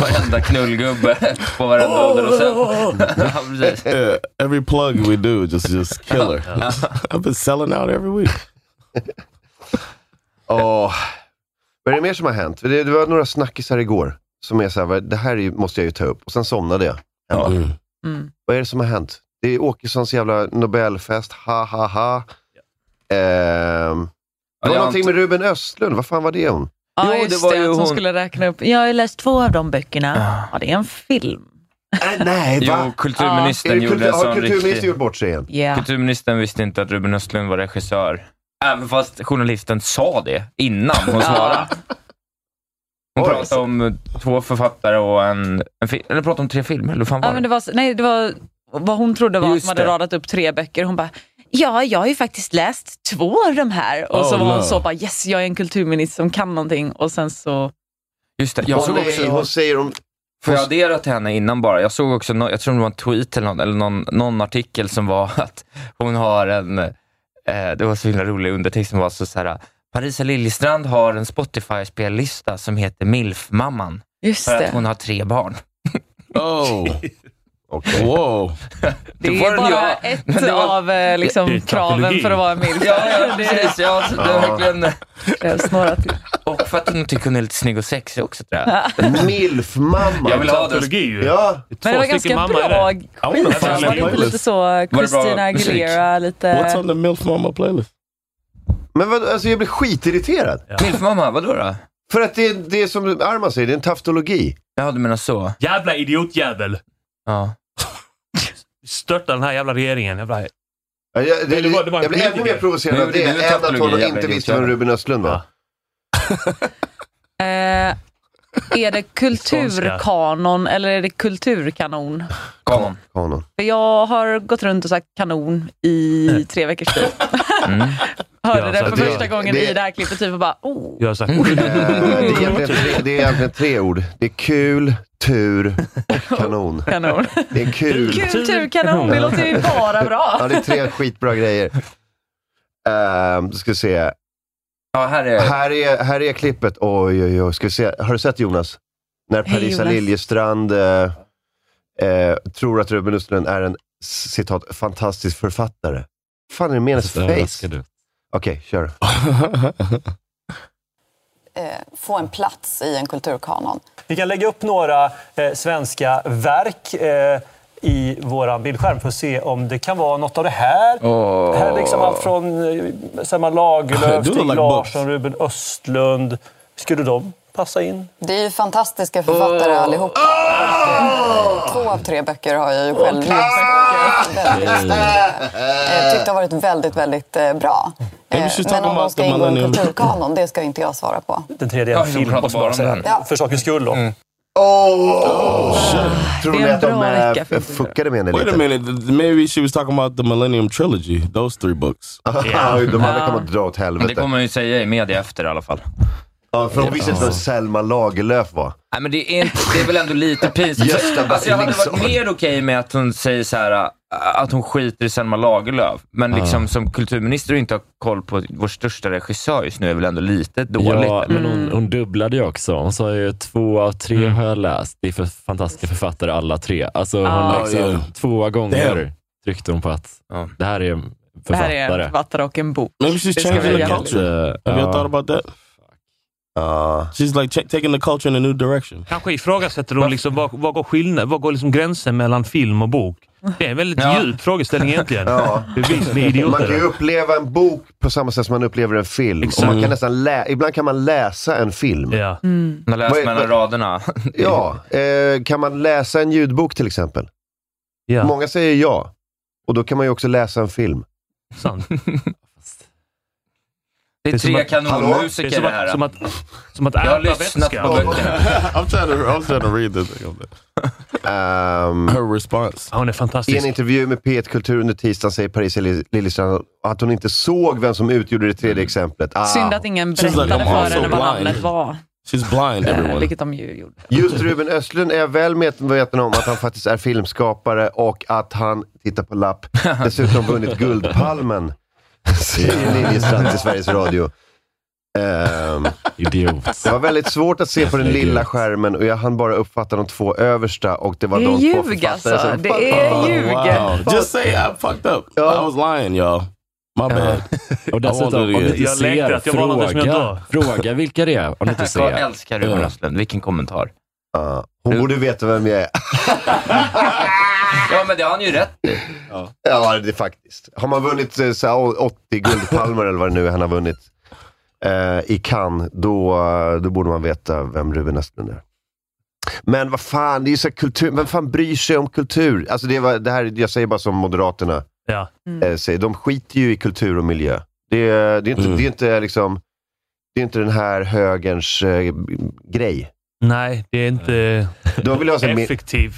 S7: Varenda knullgubbe på varenda ålderdomshem.
S3: Oh!
S7: Ja, precis.
S4: Yeah, every plug we do just just killer. I've been selling out every week.
S3: Åh. Vad är det mer som har hänt? Det, det var några snackisar igår. Som är så här, vad- det här är ju- måste jag ju ta upp. Och sen somnade jag. hemma.
S4: Mm.
S6: Mm.
S3: Vad är det som har hänt? Det är Åkessons jävla Nobelfest. Ha, ha, ha. Ehm, det var
S7: Ja,
S3: någonting med Ruben Östlund. Vad fan var det om?
S6: Ja,
S7: Jo,
S6: just
S7: det var ju
S6: att hon
S7: hon.
S6: skulle räkna upp.
S8: Jag har ju läst två av de böckerna. Ja, det är en film.
S3: Äh, nej,
S7: Jo,
S3: va? Är
S7: kulturministern
S3: det
S7: gjorde
S3: kultur-
S7: en
S3: har
S7: sån
S3: kulturministern
S7: riktig...
S3: gjort bort sig igen?
S6: Yeah.
S7: Kulturministern visste inte att Ruben Östlund var regissör. Även fast journalisten sa det innan hon svarade. Hon
S3: Oj.
S7: pratade om två författare och en, en film. Eller pratade om tre filmer, eller vad fan
S6: Ja,
S7: var
S6: men
S7: det?
S6: det var, nej, det var vad hon trodde var att
S7: Just
S6: man hade
S7: det.
S6: radat upp tre böcker. Hon bara, ja, jag har ju faktiskt läst två av de här. Och så
S4: Oh,
S6: var hon
S4: no.
S6: så bara, yes, jag är en kulturminister som kan någonting. Och sen så,
S7: Just det. Jag
S3: Åh,
S7: såg
S3: nej, hon
S7: också,
S3: säger om...
S7: får jag addera till henne innan bara? Jag såg också, nå- jag tror det var en tweet eller någon, eller någon, någon artikel som var att hon har en, eh, det var så himla rolig undertext som var så, så här. Parisa Liljestrand har en Spotify-spellista som heter Milf-mamman.
S6: just
S7: För att
S6: det.
S7: hon har tre barn.
S4: Oh,
S3: Okej.
S4: whoa.
S6: Det
S7: var
S6: är
S7: den
S6: bara
S7: jag-
S6: ett
S7: men det var-
S6: av eh,
S5: Det är
S6: liksom,
S5: ju
S6: kraven
S5: tautologi.
S6: för att vara en eh, milf.
S7: Ja, ja precis. Ja, så det är
S3: Ja.
S7: verkligen...
S6: Det krävs några till.
S7: Och för att hon tycker hon är lite snygg och sexig också tror jag.
S3: Milfmamma.
S7: Jag vill ha den.
S5: Teologi ju.
S3: Ja,
S5: Två
S6: Men det var
S5: stycken
S6: ganska
S5: mamma är det.
S6: bra
S4: wanna
S6: skit.
S4: find
S6: Var det inte
S4: playlist.
S6: lite så
S7: bra
S6: Christina
S7: musik?
S6: Aguilera,
S4: What's
S6: lite...
S4: on the MILF Mama playlist?
S3: men vad, alltså jag blir skitirriterad.
S7: Milfmamma, vadå då?
S3: För att det, det är som Arman säger, det är en taftologi.
S7: Ja, du menar så.
S5: Jävla idiotjävel!
S7: Ja.
S5: Störta den här jävla regeringen. Jävla...
S3: Jag, jag- det,
S5: Nej, det var- det var en
S3: jag blir ännu
S5: politiker.
S3: mer provocerad
S7: Men
S3: av
S7: det
S3: det
S7: är väl
S3: än att
S7: tautologi,
S3: hon
S7: jävla
S3: inte visste
S7: idiot.
S3: vem Ruben Östlund var.
S5: Ja.
S6: Eh, är det kulturkanon eller är det kulturkanon?
S7: Kanon.
S3: Kanon.
S6: För jag har gått runt och sagt kanon i tre veckors tid.
S7: Mm.
S6: Hörde
S5: Ja,
S6: det
S5: så
S6: för
S5: det-
S6: första gången
S3: det-
S6: i det här klippet typ och bara oh.
S5: Jag har sagt...
S3: Eh, det, är egentligen tre, det är egentligen tre ord. Det är kul, tur och kanon.
S6: Kanon.
S3: Det är kul.
S6: Kulturkanon, det låter ju bara
S3: Ja,
S6: bra.
S3: det är tre skitbra grejer. Uh, ska vi se.
S7: Ja, här är
S3: Här är, här är klippet. Oj, oj, oj. Ska vi se. Har du sett Jonas? När
S6: Hej,
S3: Parisa
S6: Jonas.
S3: Liljestrand eh, eh, tror att Ruben Östlund är en citat, fantastisk författare. fan är det med hennes
S4: Alltså,
S3: face? Okej, kör.
S9: få en plats i en kulturkanon.
S10: Vi kan lägga upp några eh, svenska verk eh, i vår bildskärm för att se om det kan vara något av det här.
S7: Åh.
S10: Här liksom allt från eh, Selma Lagerlöf,
S4: Du
S10: Stig
S4: har lagt
S10: Larsson, Ruben Östlund. Skulle de passa in?
S9: Det är ju fantastiska författare allihopa. Två av tre böcker har jag ju själv läst. och väldigt, eh, Tyckt har varit väldigt, väldigt eh, bra.
S4: Maybe
S9: Eh,
S4: she's talking
S9: Men om de
S4: about
S9: ska
S4: the
S9: ingå i en
S4: millennium.
S9: kulturkanon, det ska inte jag svara på.
S10: Den tredje är
S7: Ja,
S10: en
S7: vi
S10: film,
S7: pratar
S10: måste
S7: bara
S10: man
S7: om
S10: säga.
S7: den. Mm.
S9: Ja.
S10: För sakens skull då.
S3: Tror
S6: Det är
S3: ni
S6: en
S3: att de
S6: bra
S3: eh,
S6: vecka för
S3: f- fuckade med henne
S4: Wait a
S3: lite?
S4: minute. th- Maybe she was talking about the Millennium Trilogy. Those three books.
S3: Oj, de andra kommer att dra åt
S7: Det
S3: helvete.
S7: kommer man ju säga i media efter i alla fall.
S3: Ja, för de visste inte vem Selma Lagerlöf var.
S7: Nej, men det är, inte, det är väl ändå lite pinsamt.
S3: Gösta
S7: Alltså, jag hade varit
S3: Basilingson.
S7: mer okej med att hon säger så här äh, att hon skiter i Selma Lagerlöf. Men liksom som kulturminister och inte ha koll på vår största regissör just nu är väl ändå lite dåligt.
S11: Ja, men hon, hon dubblade ju också. Hon sa ju två av tre
S4: Mm.
S11: har jag läst. Det är för fantastiska författare alla tre. Alltså
S6: Ah.
S11: hon liksom,
S4: Ja, ja.
S11: två gånger
S4: Damn.
S11: tryckte hon på att
S7: Ja.
S11: det här är en
S6: Det här
S11: författare.
S6: är en författare och en bok.
S4: Maybe she's
S6: Det ska
S4: changing
S6: vi
S4: the
S6: göra.
S4: culture. Have y'all thought about that?
S3: Ja.
S4: She's like ch- taking the culture in a new direction.
S5: Kanske ifrågasätter hon liksom, vad, vad går, skillnad, vad går liksom gränsen mellan film och bok? Det är en väldigt
S7: Ja.
S5: djup frågeställning egentligen.
S3: Ja.
S5: Bevis, ni
S3: Man kan ju
S5: idioter.
S3: uppleva en bok på samma sätt som man upplever en film. Och man kan nästan lä- Ibland kan man läsa en film.
S5: Ja.
S7: Hon har läst
S3: Vad är-
S7: mellan
S3: vad-
S7: raderna.
S3: Ja, eh, kan man läsa en ljudbok till exempel?
S5: Ja.
S3: Många säger ja. Och då kan man ju också läsa en film.
S5: sant.
S7: Det är
S5: som
S7: tre
S5: att-
S7: kanonmusiker
S5: Det är som att-
S7: det här.
S5: Som att, som att
S7: Jag har
S5: äta
S7: lyssnat
S5: vätska.
S7: på böckerna.
S4: I'm trying to, I'm trying to read this thing.
S3: Her
S4: response.
S5: Hon
S3: I
S5: är fantastisk.
S3: Ehm, en intervju med P1 Kultur under tisdagen säger Parisa Lil- Liljestrand att hon inte såg vem som utgjorde det tredje exemplet. Ah.
S6: Synd att ingen
S3: She's like,
S6: berättade
S3: I'm
S6: för
S3: also
S6: henne vad
S3: blind.
S6: namnet var.
S4: She's blind
S6: Eh,
S4: everyone.
S6: Vilket de ju gjorde.
S3: Just Ruben Östlund är jag väl medveten om att han faktiskt är filmskapare och att han, titta på lapp, dessutom vunnit Guldpalmen. Säger Liljestrand till Sveriges Radio. Ehm, Det var väldigt svårt att se på den
S11: Jävla
S3: lilla
S11: idiot.
S3: skärmen och jag hann bara uppfatta de två översta och det var
S6: Det är
S3: de två
S6: ljug,
S3: författare
S6: alltså.
S3: som...
S6: Det är
S3: Oh,
S6: ljug.
S4: Wow. Just say I fucked up. I was lying y'all. My bad.
S11: Och dessutom, om ni inte ser, fråga, fråga vilka det är. Om ni inte ser.
S7: Jag älskar Ruben Östlund. Vilken kommentar.
S3: hon borde veta vem jag är.
S7: Ja, men det har han ju rätt i.
S3: Ja, det är faktiskt. Har man vunnit eh, så här, 80 guldpalmer eller vad det nu är han har vunnit eh, i Cannes, då, eh, då borde man veta vem Ruben Östlund är. Men vad fan, det är ju så här kultur. Vem fan bryr sig om kultur? Alltså det var, det här, jag säger bara som Moderaterna
S5: ja.
S6: Mm.
S3: eh, säger. De skiter ju i kultur och miljö. Det, är- det, är, inte, det, är, inte, liksom, det är inte den här högerns eh, grej.
S5: Nej, det är inte
S3: De vill ha så här mer-
S5: effektiv.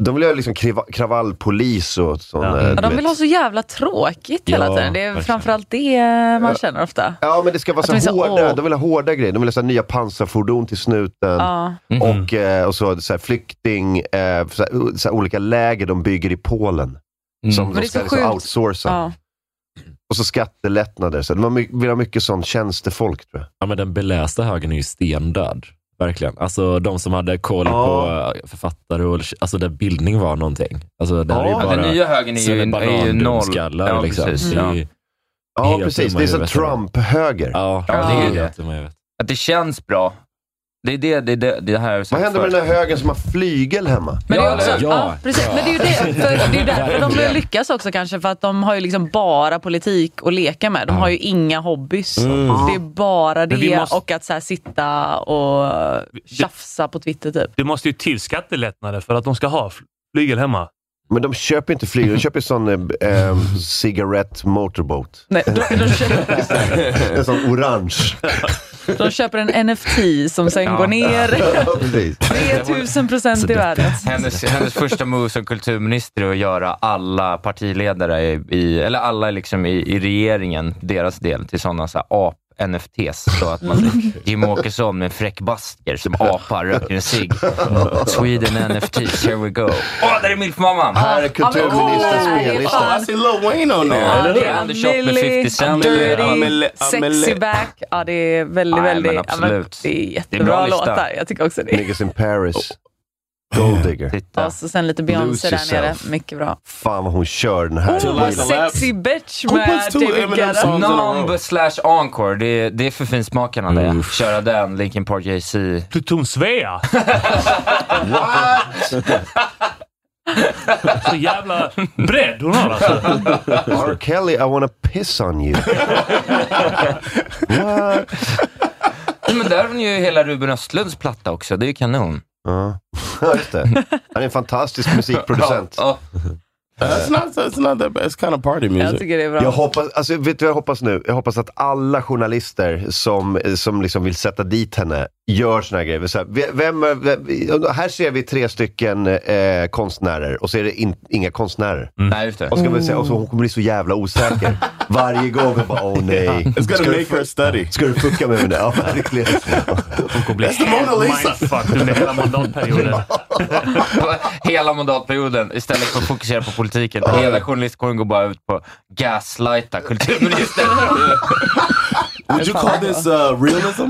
S3: De vill ha liksom kriva- kravallpolis och sån... eh, du
S6: Ja, de
S3: vet.
S6: vill ha så jävla tråkigt hela
S3: Ja,
S6: tiden. Det är
S3: verkligen.
S6: framförallt det man känner ofta.
S3: Ja, men det ska vara
S6: Att de är
S3: så
S6: så,
S3: hårda.
S6: åh.
S3: De vill ha hårda grejer. De vill ha så här nya pansarfordon till snuten.
S6: Ja.
S11: Mhm.
S3: Och, eh, och så, så här, flykting, eh, så här, o- så här, olika läger de bygger i Polen. Som
S11: Mm.
S6: Men
S3: de
S6: det är
S3: ska
S6: så
S3: liksom
S6: sjukt.
S3: outsourca.
S6: Ja.
S3: Och så skattelättnader. Så de my- vill ha mycket sån tjänstefolk tror jag.
S11: Ja, men den belästa högen är ju stendöd. Verkligen. Alltså de som hade koll
S3: Ja.
S11: på eh, författare och alltså där bildning var någonting. Alltså, det här
S3: Ja.
S11: är ju
S3: Ja,
S11: bara
S3: den nya högern är ju-
S11: sina
S3: är ju
S11: banandumskallar,
S3: noll. Ja,
S11: liksom.
S3: precis.
S11: Det är ju
S3: Ja. Ja,
S11: helt
S3: precis.
S11: dumma
S3: Det är
S11: i
S3: som
S11: huvudet.
S3: Trump-höger.
S11: Ja,
S7: Ja, det är ju det.
S11: dumma i huvudet.
S7: Att det känns bra. Det är det, det, är det, det här jag har sagt
S3: Vad händer med
S7: förut.
S3: den här högen som har flygel hemma?
S6: Men det är också,
S7: eller
S6: ja,
S7: hur?
S6: precis. Men det är ju det, för, det är ju därför de lyckas också kanske, för att de har ju liksom bara politik att leka med. De har ju inga hobbys.
S5: Mm.
S6: Det är bara
S5: Men vi
S6: det
S5: måste-
S6: och att så här sitta och tjafsa på Twitter typ.
S5: Det måste ju till skattelättnader för att de ska ha fl- flygel hemma.
S3: Men de köper inte flygel. De köper sån eh, eh, cigarette motorboat.
S6: Nej,
S3: en sån orange.
S6: De köper en NFT som sen
S7: Ja.
S6: går ner
S3: Ja, precis.
S6: 3000 procent i världen.
S7: Hennes, hennes första move som kulturminister är att göra alla partiledare, i, i, eller alla liksom i, i regeringen, deras del, till sådana så här ap-NFTs. Så att man ser Jim Åkesson med en fräck basker som apar, röker en cigg. Sweden NFTs, here we go. Åh, där är milfmamman!
S3: Här är kulturministerns spellista.
S4: I see Lil Wayne on there.
S6: Ja, det
S7: Eller
S6: är
S7: hur?
S6: Millie,
S7: 50 Cent.
S6: Dirty,
S7: Amelie-
S6: Sexy
S7: Amelie.
S6: Back. Ja, det är väldigt,
S7: Nej, men
S6: väldigt... ja, men
S7: absolut.
S6: det är
S7: Det är en
S6: jättebra
S7: bra lista.
S6: låtar. Jag tycker också det.
S3: Niggas in Paris. Gold digger.
S6: Och så sen lite Beyoncé
S3: Lose
S6: där nere.
S3: yourself.
S6: Mycket bra.
S3: Fan vad hon kör den här.
S6: Oh, sexy bitch med David Guetta.
S7: Numb slash encore. Det är, det är för finsmakarna det. Köra den, Linkin Park JC.
S5: Pluton Svea! Så jävla bredd hon har alltså.
S3: R. Kelly, I wanna piss on you. What?
S7: Nej, Men där har ni ju hela Ruben Östlunds platta också. Det är ju kanon.
S3: Ja, just det. Han är en fantastisk musikproducent.
S7: Ja,
S4: That's not, that's not that bad. It's kind of party music.
S3: Jag hoppas, alltså, vet du vad jag hoppas nu? Jag hoppas att alla journalister som, som liksom vill sätta dit henne gör såna här grejer. Så här, ve- vem, är- vem, här ser vi tre stycken eh, konstnärer och så är det in, inga konstnärer.
S7: Nej, just det.
S3: Och, ska vi säga, och så hon kommer bli så jävla osäker. Varje gång hon bara, åh nej.
S4: Yeah. It's gonna
S3: Ska du
S4: make
S3: fu-
S4: her study.
S3: Ska du fucka med mig nu? Ja, verkligen.
S5: Hon kommer bli
S4: That's the Mona Lisa.
S5: mindfucked under hela mandatperioden.
S7: Hela mandatperioden, istället för att fokusera på politiken. Hela journalistkåren går bara ut på att gaslighta kulturministern.
S4: Would you call this uh, realism?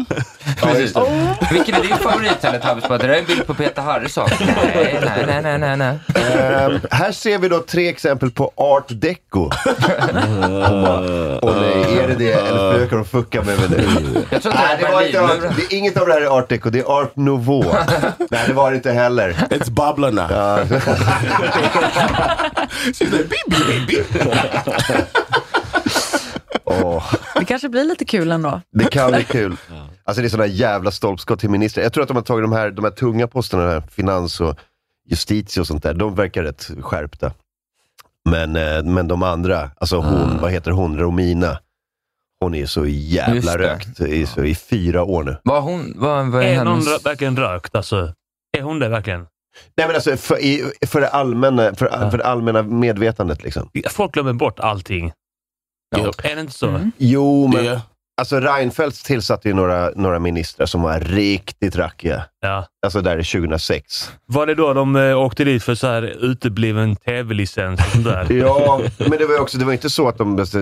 S7: Precis. Vilken är din favorit Teletubbies? Bara, Det där är en bild på Peter Harrison. Nej, nej, nej, nej, nej. nej.
S3: Ehm, här ser vi då tre exempel på art deco. Hon bara, åh nej, är det det eller försöker de fucka med mig nu?
S7: Jag tror att det
S3: Nej,
S7: här
S3: det
S7: är
S3: var inte art,
S7: Berlinmuren.
S3: det är inget av det här är art deco, det är art nouveau. Nej, det var det inte heller.
S4: It's Bablana.
S3: Ja.
S4: She's like, beep, beep, beep, beep.
S3: Åh,
S6: Det kanske blir lite kul ändå.
S3: det kan bli kul. Alltså det är sådana jävla stolpskott till ministrar. Jag tror att de har tagit de här, de här tunga posterna, här, finans och justitie och sånt där, de verkar rätt skärpta. Men, eh, men de andra, alltså hon, vad heter hon, Romina. Hon är så
S5: Just
S3: jävla
S5: det.
S3: rökt i, så, i fyra år nu.
S7: Var hon, var,
S5: är någon rö- verkligen rökt alltså? Är hon det verkligen?
S3: Nej men alltså för, i, för, det, allmänna, för, för det allmänna medvetandet liksom.
S5: Folk glömmer bort allting. Är det inte så?
S11: Mm.
S3: Jo, men alltså Reinfeldt tillsatte ju några, några ministrar som var riktigt rackiga. Alltså där i 2006.
S5: Var det då de eh, åkte dit för så här utebliven tv-licens och sånt där?
S3: Ja, men det var ju också, det var inte så att de, alltså,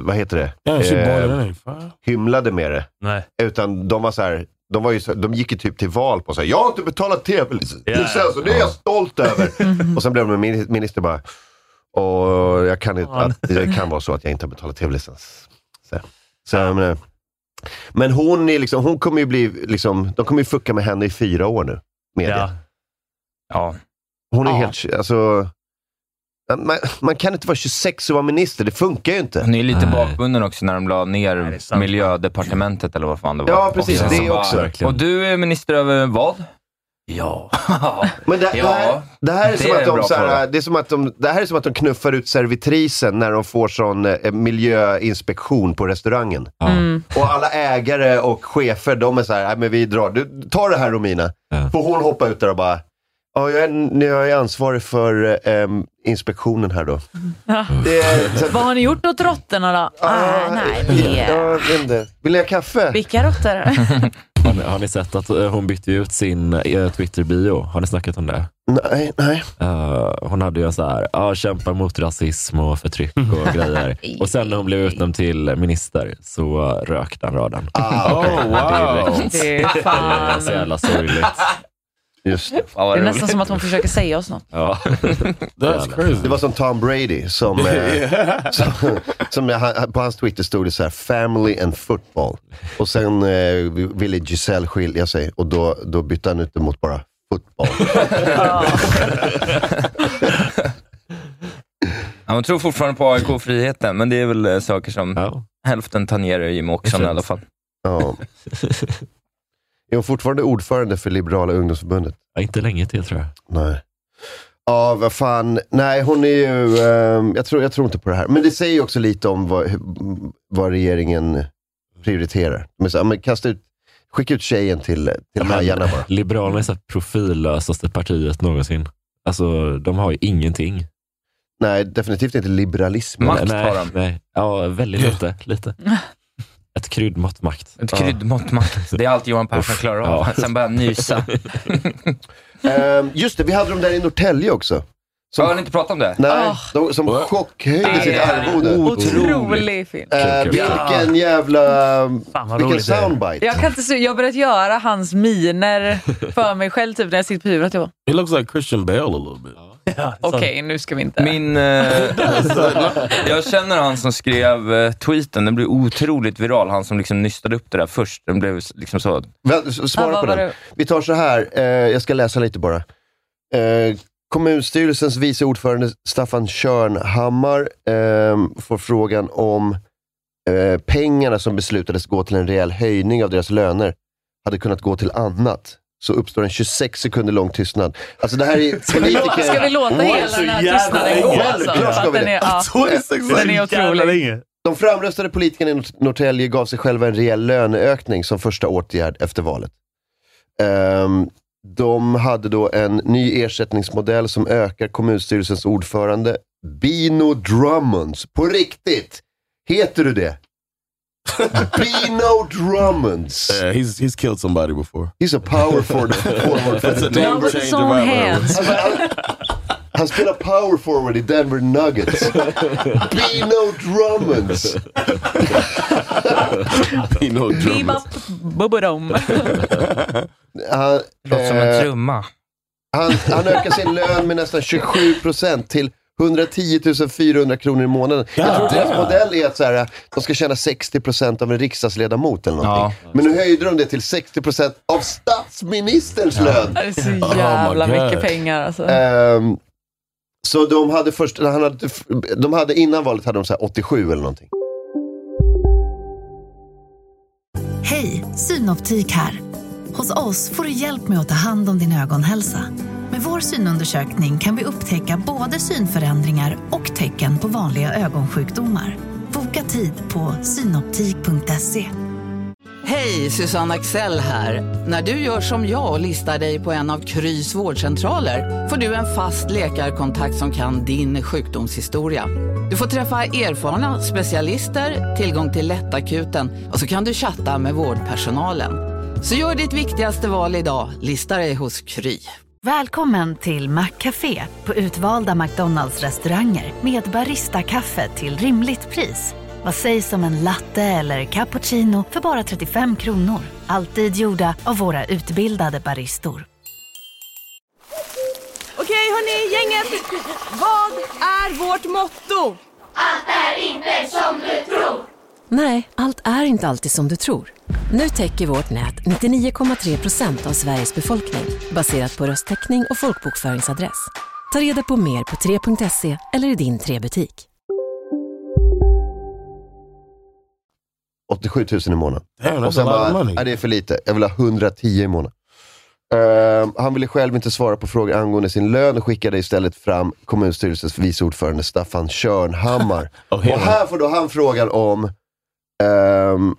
S3: vad heter det? Eh,
S4: Yeah, she boiled it in,
S3: hymlade med det.
S5: Nej.
S3: Utan de var så här, de, var ju så, de gick ju typ till val på så här, jag har inte betalat tv-licens
S4: Ja, ja.
S3: och det är jag stolt över. och sen blev de min- minister bara, och jag kan, inte, att, det kan vara så att jag inte har betalat tv-licens. Så, här. så jag menar, men hon, är liksom, hon kommer ju bli, liksom, de kommer ju fucka med henne i fyra år nu. Media. Ja.
S7: ja.
S3: Hon är helt, alltså, man, man kan inte vara 26 och vara minister, det funkar ju inte.
S7: Hon är ju lite bakbunden också när de la ner miljödepartementet eller vad fan det var.
S3: Ja, precis,
S7: sen
S3: det
S7: så bara,
S3: också. Verkligen.
S7: Och du är minister över vad? Ja.
S3: Men det,
S7: Ja,
S3: det, här, det här är
S7: det
S3: som
S7: är
S3: att
S7: en
S3: de,
S7: bra
S3: så här,
S7: fråga.
S3: det är som att de, det här är som att de knuffar ut servitrisen när de får sån eh, miljöinspektion på restaurangen.
S4: Mm.
S3: Och alla ägare och chefer, de är så här, "Nej, men vi drar. Du, ta det här Romina. Får hon hoppa ut där och bara, ja, jag, är, jag är ansvarig för eh, em, inspektionen här då.
S6: Ja.
S3: Det är- så att-
S6: Vad har ni gjort åt råttorna då? Ah, nej, det är...
S3: Jag vet inte. Vill ni ha kaffe?
S6: Vilka råttor?
S11: Har ni, har ni sett att eh, hon bytte ut sin eh, Twitter-bio? Har ni snackat om det?
S3: Nej, nej.
S11: Eh, hon hade ju en så här, ja, kämpar mot rasism och förtryck och grejer. Och sen när hon blev utnämnd till minister så eh, rökte han raden.
S3: Ah,
S11: Det
S7: okej. Oh, wow.
S11: direkt.
S7: Det är fan.
S11: Det är så jävla sorgligt.
S3: Just
S6: Det är nästan som att hon försöker säga oss något.
S11: Ja.
S4: That's crazy.
S3: Det var som Tom Brady som, eh, som, som han, på hans Twitter stod det så här, family and football. Och sen eh, ville Giselle skilja sig och då, då bytte han ut det mot bara football.
S7: Ja, man tror fortfarande på AIK-friheten, men det är väl eh, saker som hälften tangerar Jimmie Åkesson i alla fall.
S3: Ja. Är hon fortfarande ordförande för Liberala ungdomsförbundet?
S11: inte länge till tror jag.
S3: Nej. Ja, vad fan. Nej, hon är ju... ehm, jag, tror, jag tror inte på det här. Men det säger ju också lite om vad, hu- vad regeringen prioriterar. Men så, här, men kasta ut, skicka ut tjejen till, till hajarna bara.
S11: Liberalerna är så här profillösaste partiet någonsin. Alltså, de har ju ingenting.
S3: Nej, definitivt inte liberalismen.
S11: nej, Nej. Ja, väldigt lite. lite. Ett kryddmått makt.
S7: Ett kryddmått makt. Det är allt Johan Persson
S11: Uff,
S7: klarar av.
S11: ja.
S7: Sen börjar han nysa.
S3: Ehm, just det, vi hade dem där i Norrtälje också. Som,
S7: har ni inte pratat om det?
S3: Nej,
S7: Ah.
S3: de, som chockhöjde
S7: Nej,
S3: sitt
S7: det är
S3: arvode.
S6: Otrolig film.
S3: Eh, vilken jävla... vilken
S5: roligt det är.
S3: soundbite.
S6: Jag, kan inte, se- jag har börjat göra hans miner för mig själv typ, när jag sitter på huvudet. Jag bara,
S4: He looks like Christian Bale a little bit.
S6: Oh.
S3: Alltså,
S6: Okej, nu ska vi inte...
S7: Min, eh, jag känner han som skrev eh, tweeten. Den blev otroligt viral. Han som liksom nystade upp det där först. Den blev liksom så...
S3: Väl- s-
S7: Ja,
S3: Svara
S7: vad
S3: på
S7: var
S3: den.
S7: det?
S3: Vi tar så här, eh, jag ska läsa lite bara. Eh, kommunstyrelsens vice ordförande Staffan Körnhammar eh, får frågan om eh, pengarna som beslutades gå till en rejäl höjning av deras löner hade kunnat gå till annat. Så uppstår en 26 sekunder lång tystnad. Alltså det här är politiker...
S6: Ska vi låta
S3: Oj,
S6: hela
S3: så
S6: den här
S3: jävla
S6: tystnaden gå?
S3: länge.
S6: Alltså?
S3: Självklart ska vi
S6: Den är,
S3: det.
S6: ja, den är otrolig.
S3: De framröstade politikerna i Nort- Norrtälje gav sig själva en rejäl löneökning som första åtgärd efter valet. Ehm, de hade då en ny ersättningsmodell som ökar kommunstyrelsens ordförande Bino Drummonds. På riktigt! Heter du det? Bino Drummonds!
S4: Yeah, he's he's killed somebody before.
S3: He's a power forward. forward for
S4: That's
S3: the
S4: a name
S3: Denver.
S4: change around here.
S3: Alltså, han- Han spelar power forward i Denver Nuggets. Bino Drummonds!
S4: Bino
S6: Bebop, bubbadom.
S3: Han,
S7: Låter som
S3: eh,
S7: en trumma.
S3: Han, han ökar sin lön med nästan 27 procent till 110 400 kronor i månaden. Jag tror att deras modell är att så här, de ska tjäna 60 procent av en riksdagsledamot eller någonting. Men nu höjde de det till 60 procent av statsministerns lön.
S6: Det är så jävla mycket pengar alltså.
S3: Ehm, så de hade först, han hade, de hade, innan valet hade de så här 87 eller någonting.
S1: Hej, Synoptik här. Hos oss får du hjälp med att ta hand om din ögonhälsa. Med Med vår synundersökning kan vi upptäcka både synförändringar och tecken på vanliga ögonsjukdomar. Boka tid på synoptik.se.
S12: Hej, Susanne Axel här. När du gör som jag och listar dig på en av Krys vårdcentraler får du en fast läkarkontakt som kan din sjukdomshistoria. Du får träffa erfarna specialister, tillgång till lättakuten och så kan du chatta med vårdpersonalen. Så gör ditt viktigaste val idag, listar dig hos Kry.
S1: Välkommen till Maccafé på utvalda McDonalds restauranger med Baristakaffe till rimligt pris. Vad sägs om en latte eller cappuccino för bara 35 kronor? Alltid gjorda av våra utbildade baristor.
S13: Okej hörni, gänget! Vad är vårt motto?
S14: Allt är inte som du tror.
S15: Nej, allt är inte alltid som du tror. Nu täcker vårt nät 99,3 procent av Sveriges befolkning baserat på röstteckning och folkbokföringsadress. Ta reda på mer på 3.se eller i din 3-butik.
S3: 87 000 i månaden.
S4: Damn,
S3: och sen
S4: that's a lot of
S3: bara,
S4: money.
S3: nej det är för lite. Jag vill ha 110 i månaden. Ehm, han ville själv inte svara på frågor angående sin lön och skickade istället fram kommunstyrelsens vice ordförande Staffan Körnhammar. och
S4: hela-
S3: här får då han frågan om ehm,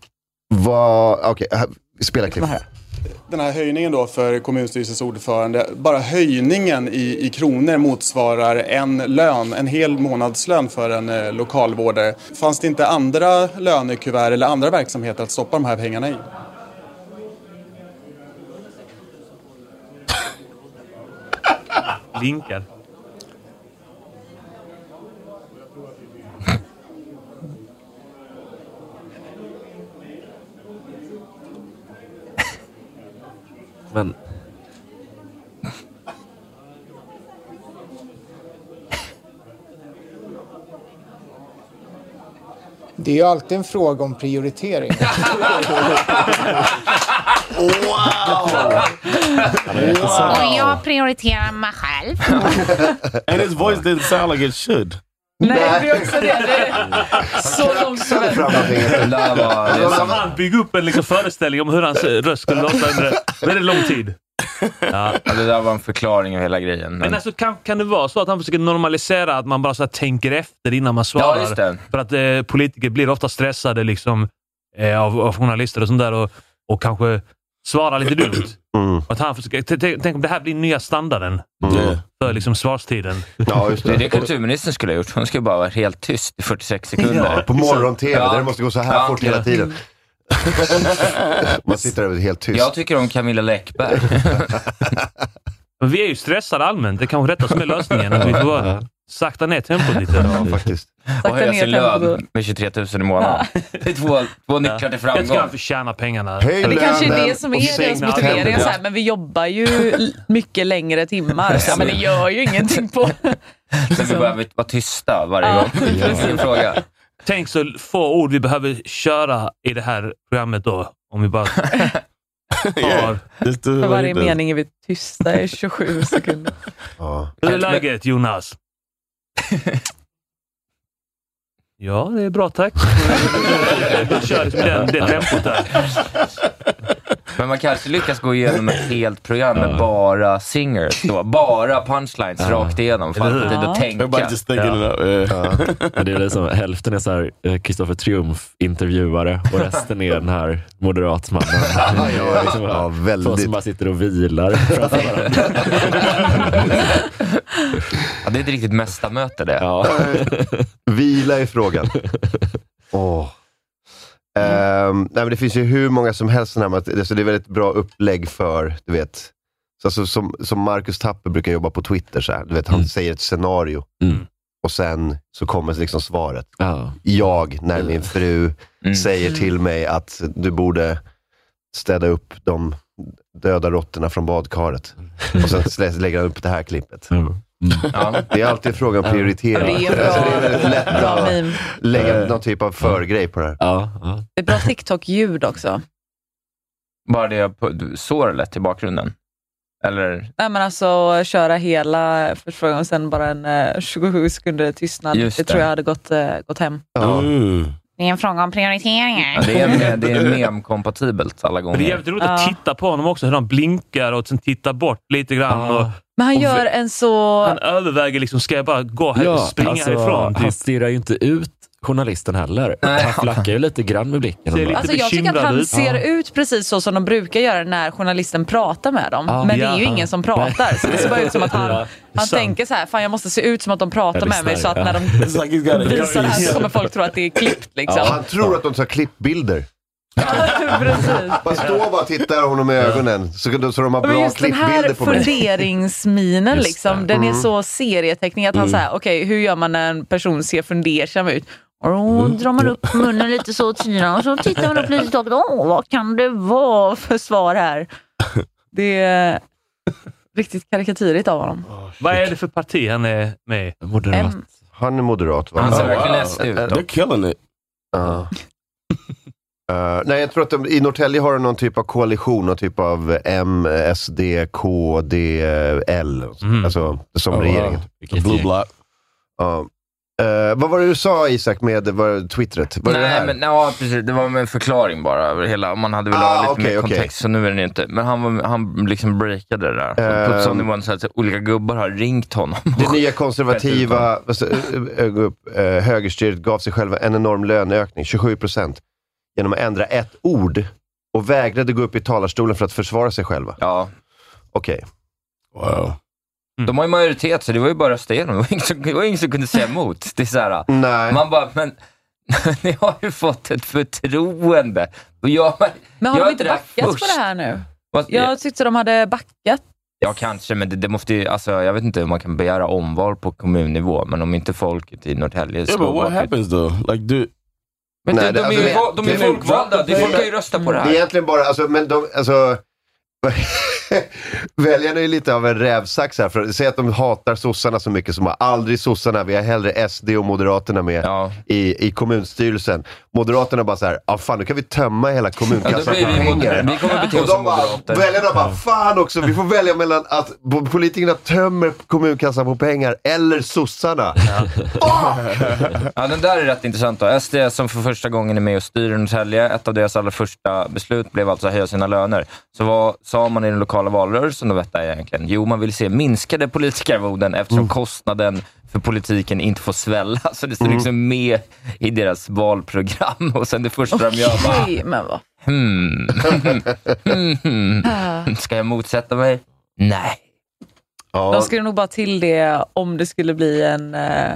S3: vad... Okej, här- spela klippet.
S16: Den här höjningen då för kommunstyrelsens ordförande, bara höjningen i, i kronor motsvarar en lön, en hel månadslön för en eh, lokalvårdare. Fanns det inte andra lönekuvert eller andra verksamheter att stoppa de här pengarna i?
S5: Linkar.
S11: Men...
S17: Det är ju alltid en fråga om prioritering.
S14: Och jag prioriterar mig själv.
S4: and his voice didn't sound like it should.
S6: Så långt som möjligt.
S5: Han bygger upp en liksom föreställning om hur hans eh, röst skulle låta under väldigt lång tid. Ja.
S7: Det där var en förklaring av hela grejen.
S5: Men alltså, kan, kan det vara så att han försöker normalisera att man bara så här, tänker efter innan man svarar?
S7: just det.
S5: För att eh, politiker blir ofta stressade liksom, eh, av, av journalister och sånt där och, och kanske svarar lite dumt.
S3: Mm,
S5: Och Att han försöker, t- t- tänk om det här blir nya standarden
S16: Mm.
S5: för liksom, svarstiden.
S7: det. är det kulturministern skulle ha gjort. Hon skulle bara vara helt tyst i 46 sekunder.
S3: Ja, på morgon-tv, där det måste gå så här
S7: Ja.
S3: fort hela tiden. Man sitter över helt tyst.
S7: Jag tycker om Camilla Läckberg.
S5: Men vi är ju stressade allmänt. Det är kanske detta som är lösningen. Att vi får bara sakta ner tempot lite.
S3: Ja, faktiskt.
S7: Och höja sin lön med 23 000 i månaden. Det är två, två nycklar till framgång.
S5: Jag tycker han förtjänar pengarna.
S7: Höj
S6: Det kanske är det som är deras motivering. Så här, men vi jobbar ju l- mycket längre timmar, så, ja, men det gör ju ingenting på...
S7: Så vi behöver vara tysta varje gång. Ja. Fråga.
S5: Tänk så få ord vi behöver köra i det här programmet då. Om vi bara tar...
S6: För varje mening är vi tysta i 27 sekunder.
S5: Hur är läget Jonas? Ja, det är bra tack. Vi kör liksom den, det tempot där.
S7: Men man kanske lyckas gå igenom ett helt program med bara singers. Då. Bara punchlines rakt igenom. Fan,
S11: Eller hur?
S7: tid att tänka.
S11: Men det är liksom, hälften är så här, eh, Kristoffer Triumf-intervjuare och resten är den här moderatmannen.
S3: ja. Ja,
S11: Två
S3: väldigt.
S11: som bara sitter och vilar framför varandra.
S7: Ja, det är ett riktigt mästarmöte det.
S3: Eh, Vila i frågan. Åh. Ehm, nej, men det finns ju hur många som helst sådana här, mat- alltså det är väldigt bra upplägg för, du vet, så alltså, som, som Marcus Tapper brukar jobba på Twitter, så här, du vet, han säger ett scenario och sen så kommer liksom svaret. Jag, när min fru
S7: Mm.
S3: säger till mig att du borde städa upp de döda råttorna från badkaret. Och sen slä- lägger han upp det här klippet. Det är alltid frågan om prioritering.
S6: Det är bra.
S3: Alltså, det är väldigt lätt
S6: Bra
S3: att
S6: meme.
S3: lägga någon typ av förgrej på det här.
S6: Det är bra TikTok-ljud också.
S7: Bara det på- sår lätt i bakgrunden. Eller?
S6: Nej, men alltså köra hela förfrågan och sen bara en eh, 27 sekunder tystnad.
S7: Just
S6: det
S7: det.
S6: tror jag hade gått, eh, gått hem.
S3: Ja.
S14: Det är en fråga om prioriteringar.
S7: Ja, Det är, det är mem-kompatibelt alla
S5: Men det är
S7: gånger.
S5: jävligt roligt att titta på honom också, hur han blinkar och sen tittar bort lite grann. Och,
S6: Men han
S5: och
S6: gör en så...
S5: han överväger liksom, ska jag bara gå här och springa
S11: alltså,
S5: härifrån? Typ.
S11: Han stirrar ju inte ut journalisten heller. Han flackar ju lite grann med blicken.
S5: Ser lite
S6: Alltså jag tycker att han ser
S11: Ja.
S6: ut precis så som de brukar göra när journalisten pratar med dem.
S11: Ja.
S6: men det är ju
S11: Ja.
S6: ingen som pratar. Så det ser bara ut som att han,
S11: Ja, det är
S6: han
S11: sant.
S6: tänker så här, fan jag måste se ut som att de pratar
S3: Jag
S6: med mig så
S3: lyssnar,
S6: att när de
S3: ja. It's like he's got it.
S6: visar det här så kommer folk tro att det är klippt. Liksom.
S3: Han tror att de tar klippbilder. Man står bara och tittar honom i ögonen så, kan- så de har
S6: Men
S3: bra
S6: just den här
S3: klippbilder på mig.
S6: funderingsminen,
S3: Just
S6: liksom,
S3: det.
S6: den är
S3: Mm.
S6: så serieteckning att han
S3: Mm.
S6: säger, okej hur gör man när en person ser fundersam ut? Och då
S3: Mm.
S6: drar man upp munnen lite så åt sidan och så tittar man upp lite i taket. Åh, vad kan det vara för svar här? Det är riktigt karikatyrigt av honom.
S5: Vad är det för parti han är med i?
S3: Moderat. Han är moderat va?
S5: Han ser verkligen läst ut. They're
S3: killing it. Eh, nej, jag tror att de, i Norrtälje har de någon typ av koalition, någon typ av M, SD, K, D, L. Alltså, som
S4: Oh, wow.
S3: regeringen.
S4: Vilket Blue gäng. block.
S3: Ja. Eh, vad var det du sa Isak med var, twittret? Var det det
S7: Nej,
S3: här?
S7: men, ja, precis. Det var med en förklaring bara över hela. Man hade velat
S3: Ah,
S7: ha lite
S3: okej,
S7: mer
S3: okej.
S7: kontext, så nu är det inte. Men han, var, han liksom breakade det där.
S3: Ehm.
S7: Um, På nivån så att olika gubbar har ringt honom.
S3: Det nya konservativa alltså, ö- ö- upp, eh, högerstyret gav sig själva en enorm löneökning, 27 procent, genom att ändra ett ord och vägrade gå upp i talarstolen för att försvara sig själva.
S7: Ja.
S3: Okej.
S4: Wow.
S7: De har ju majoritet, så det var ju bara att rösta igenom. Det var ingen som, det var ingen som kunde säga emot. Det är så här,
S3: Nej.
S7: Man bara, men ni har ju fått ett förtroende. Och jag,
S6: Men har
S7: jag
S6: de
S7: är
S6: inte
S7: där
S6: backat på
S7: först.
S6: det här nu?
S7: Vad-
S6: Jag tyckte de hade backat.
S7: Ja, kanske, men det, det måste ju, alltså, jag vet inte hur man kan begära omval på kommunnivå, men om inte folket i Norrtälje
S4: Yeah, but what
S7: bakom-
S4: happens though? Like, do
S7: Men det- de är ju va- de är ju folkvalda, det är folk kan ju rösta på det här.
S3: är egentligen bara, alltså, men de, alltså, väljarna är ju lite av en rävsax här. För, säg att de hatar sossarna så mycket som har aldrig sossarna, vi har hellre SD och Moderaterna med i, i kommunstyrelsen. Moderaterna bara så här, ah, fan nu kan vi tömma hela kommunkassan
S7: Ja, då blir vi
S3: på pengar.
S7: moder- vi kommer bete
S3: Och
S7: oss
S3: de
S7: som
S3: bara-
S7: moderater.
S3: Väljarna bara, fan också, vi får välja mellan att bo- politikerna tömmer kommunkassan på pengar eller sossarna.
S7: ja, den där är rätt intressant. Då. SD som för första gången är med och styr Norrtälje, ett av deras allra första beslut blev alltså att höja sina löner. Så vad sa man i den lokala valrörelsen om detta egentligen? Jo, man vill se minskade politikerarvoden eftersom kostnaden för politiken inte får svälla. Så det står liksom med i deras valprogram och sen det första de gör bara,
S6: Okej, men vad
S7: hmm, hmm, hmm. Ska jag motsätta mig? Nej.
S6: De skulle nog bara till det om det skulle bli en... eh,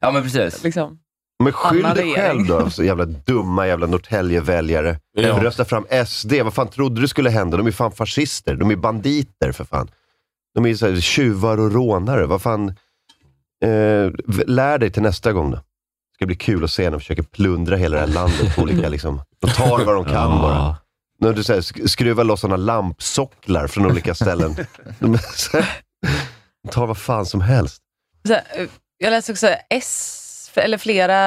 S7: Ja, men precis.
S6: Liksom.
S3: Men skyll
S6: Annan
S3: dig själv
S6: regering.
S3: då, så jävla dumma jävla Norrtälje-väljare.
S4: Ja.
S3: Rösta fram SD, vad fan trodde du skulle hända? De är fan fascister, de är banditer för fan. De är så här, tjuvar och rånare, vad fan. Eh, v- lär dig till nästa gång då. Det ska bli kul att se när de försöker plundra hela det här landet på olika, liksom. De tar vad de kan bara. När du så här, sk- skruvar loss sådana lampsocklar från olika ställen. De, är så här, de tar vad fan som helst.
S6: Så, eh, jag läste också S, eller flera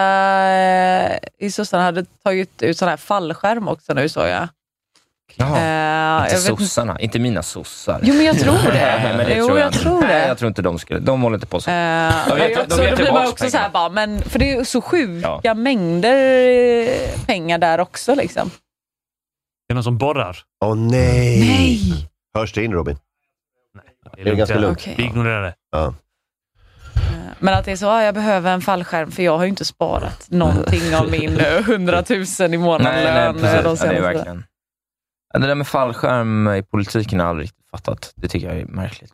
S6: eh, i sossarna hade tagit ut sån här fallskärm också nu såg jag. Eh,
S7: Jaha. inte
S6: jag vet inte-
S7: sossarna, inte mina sossar.
S6: Jo, men jag tror det.
S7: Nej, men det
S6: Jo,
S7: tror jag,
S6: jag
S7: inte.
S6: tror det.
S7: Nej, jag tror inte de skulle. De håller inte på så.
S6: Eh,
S7: De ger- de
S6: så
S7: ger
S6: då blir man
S7: tillbaks
S6: också så här, bara, men, för det är ju så sjuka
S7: Ja.
S6: mängder eh, pengar där också. Liksom.
S5: Det är någon som borrar.
S3: Åh nej. nej! Hörs det in Robin?
S5: Det
S3: är ganska lugnt.
S6: Okej.
S5: Vi ignorerar det.
S3: Ja.
S6: Men att det är så, ah, jag behöver en fallskärm för jag har ju inte sparat någonting av min eh, 100 000 i månaden
S7: Nej, nej,
S6: lön eh, de
S7: precis. Ja, det är
S6: senaste.
S7: verkligen. Ja, Det där med fallskärm i politiken har jag aldrig riktigt fattat. Det tycker jag är märkligt.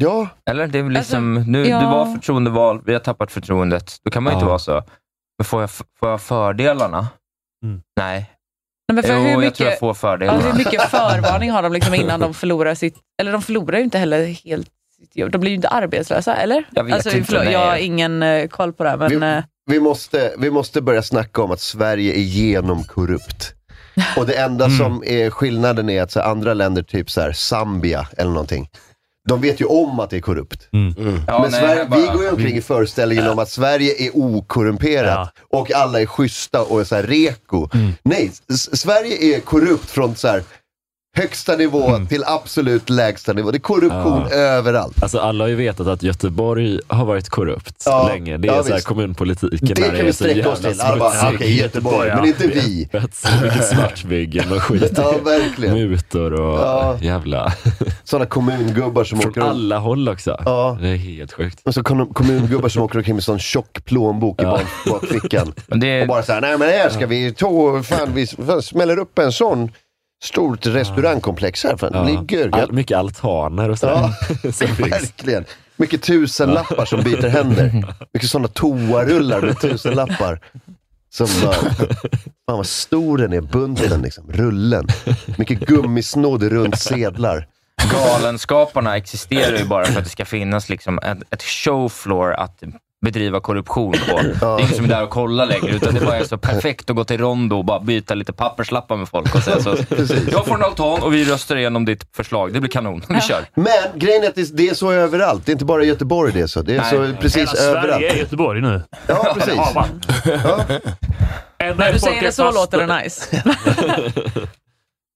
S3: Ja.
S7: Eller? Det är väl liksom, nu,
S6: Alltså, ja.
S7: Det var förtroendeval, vi har tappat förtroendet. Då kan man ju inte
S11: Ja.
S7: vara så. Men får jag, får jag fördelarna?
S3: Mm.
S7: Nej.
S6: Nej, men för
S7: jo,
S6: hur
S7: jag
S6: mycket-
S7: tror jag får fördelarna.
S6: Alltså, hur mycket förvarning har de liksom innan de förlorar sitt... Eller de förlorar ju inte heller helt sitt jobb. De blir ju inte arbetslösa, eller?
S7: Jag vet
S6: alltså,
S7: inte,
S6: förlåt,
S7: nej.
S6: jag har ingen eh, koll på det här, men... eh,
S3: Vi måste, vi måste börja snacka om att Sverige är genomkorrupt. Och det enda som är skillnaden är att så här, andra länder, typ så här, Zambia eller någonting, de vet ju om att det är korrupt.
S7: Ja,
S3: Men
S7: nej,
S3: Sverige,
S7: jag bara-
S3: vi går ju omkring i föreställningen om att Sverige är okorrumperat och alla är schyssta och är så här reko. Nej, S- Sverige är korrupt från så här högsta nivå till absolut lägsta nivå. Det är korruption
S6: Ja.
S3: överallt.
S6: Alltså alla har ju vetat att Göteborg har varit korrupt
S3: Ja,
S6: länge. Det
S3: ja,
S6: är så här
S3: visst.
S6: kommunpolitiken.
S3: Det
S6: där
S3: kan
S6: är
S3: vi
S6: så
S3: sträcka
S6: jävla
S3: oss till. Alla bara,
S6: smutsigt.
S3: okej, Göteborg, men inte vi.
S6: Vet, Så mycket svartbyggen och skit.
S3: Ja, verkligen.
S6: Mutor och
S3: Ja.
S6: jävla...
S3: Sådana kommungubbar som
S6: Från
S3: åker runt.
S6: alla håll också.
S3: Ja.
S6: Det är helt sjukt.
S3: Och så kom- kommungubbar som åker omkring med sån tjock plånbok i bak- bakfickan. Och bara såhär, nej men här ska vi ta, fan vi fan, smäller upp en sån stort restaurangkomplex här. Fan, det blir görgött.
S6: All, mycket altaner och sådär.
S3: Ja, verkligen. Mycket tusenlappar som byter händer. Mycket sådana toarullar med tusenlappar. Som bara, fan vad stor den är, bunten, liksom, rullen. Mycket gummisnodd runt sedlar.
S7: Galenskaparna existerar ju bara för att det ska finnas liksom ett, ett showfloor att bedriva korruption på. Det är ingen som är där och kollar längre, utan det bara är så perfekt att gå till Rondo och bara byta lite papperslappar med folk och säga så. Jag får en altan och vi röstar igenom ditt förslag. Det blir kanon. Vi kör.
S3: Men grejen är att det- det är så överallt. Det är inte bara i Göteborg det är så. Det är
S7: Nej.
S3: så precis
S7: Hela Sverige
S3: överallt.
S7: är
S5: Göteborg nu.
S3: Ja, precis.
S18: När du säger det så låter det nice.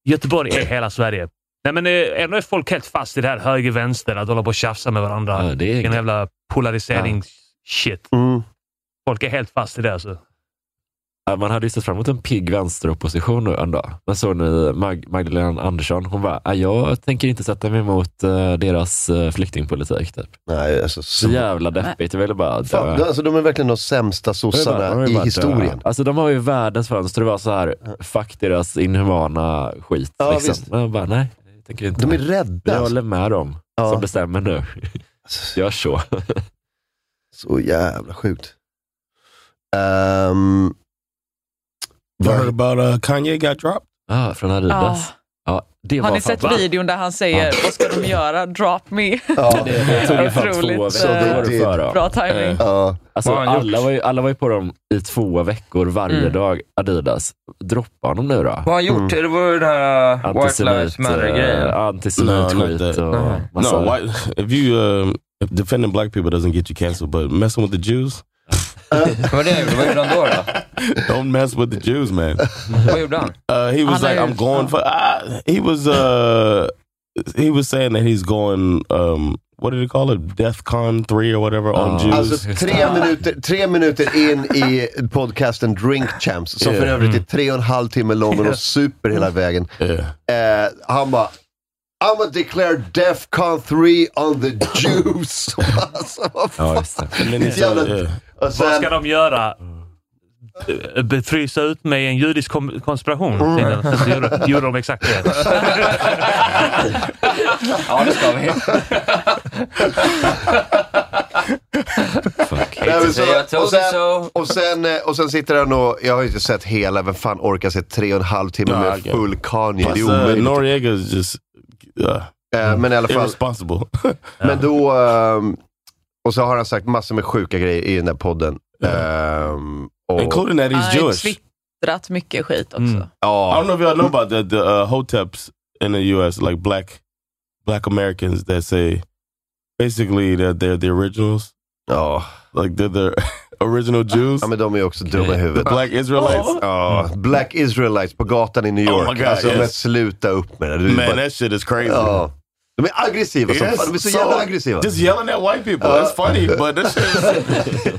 S5: Göteborg är hela Sverige. Nej, men eh, ändå är folk helt fast i det här höger-vänster, att hålla på och tjafsa med varandra. Ja, det är en jävla polariseringsshit.
S3: Mm.
S5: Folk är helt fast i det alltså.
S6: Ja, Man hade ju sett fram emot en pigg vänsteropposition nu en dag. Men såg ni Mag- Magdalena Andersson? Hon bara, "Ja, jag tänker inte sätta mig emot eh, deras eh, flyktingpolitik. Typ.
S3: Nej, alltså,
S6: så jävla deppigt. Jag ville bara dö.
S3: Fan, de- alltså, de är verkligen de sämsta
S6: De har
S3: sossarna
S6: ju
S3: i
S6: bara
S3: historien.
S6: dödat. Alltså de har ju världens fönster. Det var så här, fuck deras inhumana skit.
S3: Ja,
S6: liksom.
S3: visst.
S6: Men jag bara, nej, jag tänker inte.
S3: De är rädda. Alltså,
S6: Jag håller med dem som bestämmer nu. Gör så.
S3: Så jävla sjukt. Um,
S4: You heard about uh, Kanye got dropped?
S6: Ah, från Adidas. Ja, det
S18: Har
S6: var
S18: ni
S6: fan-
S18: sett videon där han säger vad ska de göra? Drop me.
S6: Ja, det, det tog ju fan två
S18: Otroligt,
S6: veckor
S18: eh,
S6: för dem.
S18: Bra timing.
S3: Ja.
S6: Alltså,
S18: Vad har han gjort?
S6: alla, var ju, alla var ju på dem i två veckor varje
S7: Mm.
S6: dag, Adidas. Droppa honom nu då. Vad
S7: Vad har han gjort? Mm. Det var ju den här uh, White Lives Matter-grejen.
S6: Antisemit-skit eh, och massa...
S4: No, why, if you um, if defending black people doesn't get you canceled, but messing with the Jews.
S7: Vad det? Vad gjorde han då? då?
S4: Don't mess with the Jews, man.
S7: Vad gjorde han?
S4: Uh, he was
S7: Han
S4: like,
S7: är-
S4: I'm going for. Uh, he was. Uh, he was saying that he's going. Um, what did he call it? DeathCon three or whatever on Jews.
S3: Alltså tre minuter, tre minuter in i podcasten Drink Champs, som för
S4: Yeah.
S3: övrigt är
S6: Mm.
S3: tre och en halv timme lång och de super hela vägen. Eh, han bara, I'm gonna declare Defcon 3 on the Jews. alltså, vad fan?
S4: And then he
S3: Jävla-
S4: said, yeah.
S3: Och
S5: Vad
S3: sen-
S5: ska de göra? Be- Frysa ut mig i en judisk kom- konspiration?
S6: Mm.
S5: tydligen. Sen så gjorde, gjorde de exakt det.
S7: Ja, det ska vi.
S6: Fuck.
S3: Nej, men så-
S7: Jag told
S3: och
S7: you
S3: sen- Och sen, eh, och sen sitter han och, jag har inte sett hela, vem fan orkar se tre och en halv timme
S4: Nah,
S3: med
S4: okay.
S3: full Kanye? Det är
S4: Plus, uh,
S3: omöjligt.
S4: Noriega is just uh,
S3: Eh, men i alla fall,
S4: irresponsible.
S3: Men då... ehm, och så har han sagt massor med sjuka grejer i den där podden. Ehm, och,
S4: Including that he's
S18: Han
S6: Uh,
S18: har ju
S4: Jewish.
S18: twittrat mycket skit också.
S3: Ja.
S4: I don't know if y'all know about the, the uh, hoteps in the U.S. Like black black Americans that say basically that they're the originals.
S3: Oh,
S4: like they're the original Jews.
S3: Ja, men de är också dumma i huvudet.
S4: The black Israelites.
S3: Oh. Ja, Black Israelites på gatan i New
S4: Oh
S3: York.
S4: my God,
S3: alltså,
S4: yes.
S3: men sluta upp med det. Det är
S4: Man,
S3: bara-
S4: that shit is crazy.
S3: Ja. De är aggressiva som
S4: Yes,
S3: fan. De är så, jävla aggressiva.
S4: Just yelling at white people.
S3: Uh.
S4: It's funny, but this shit is,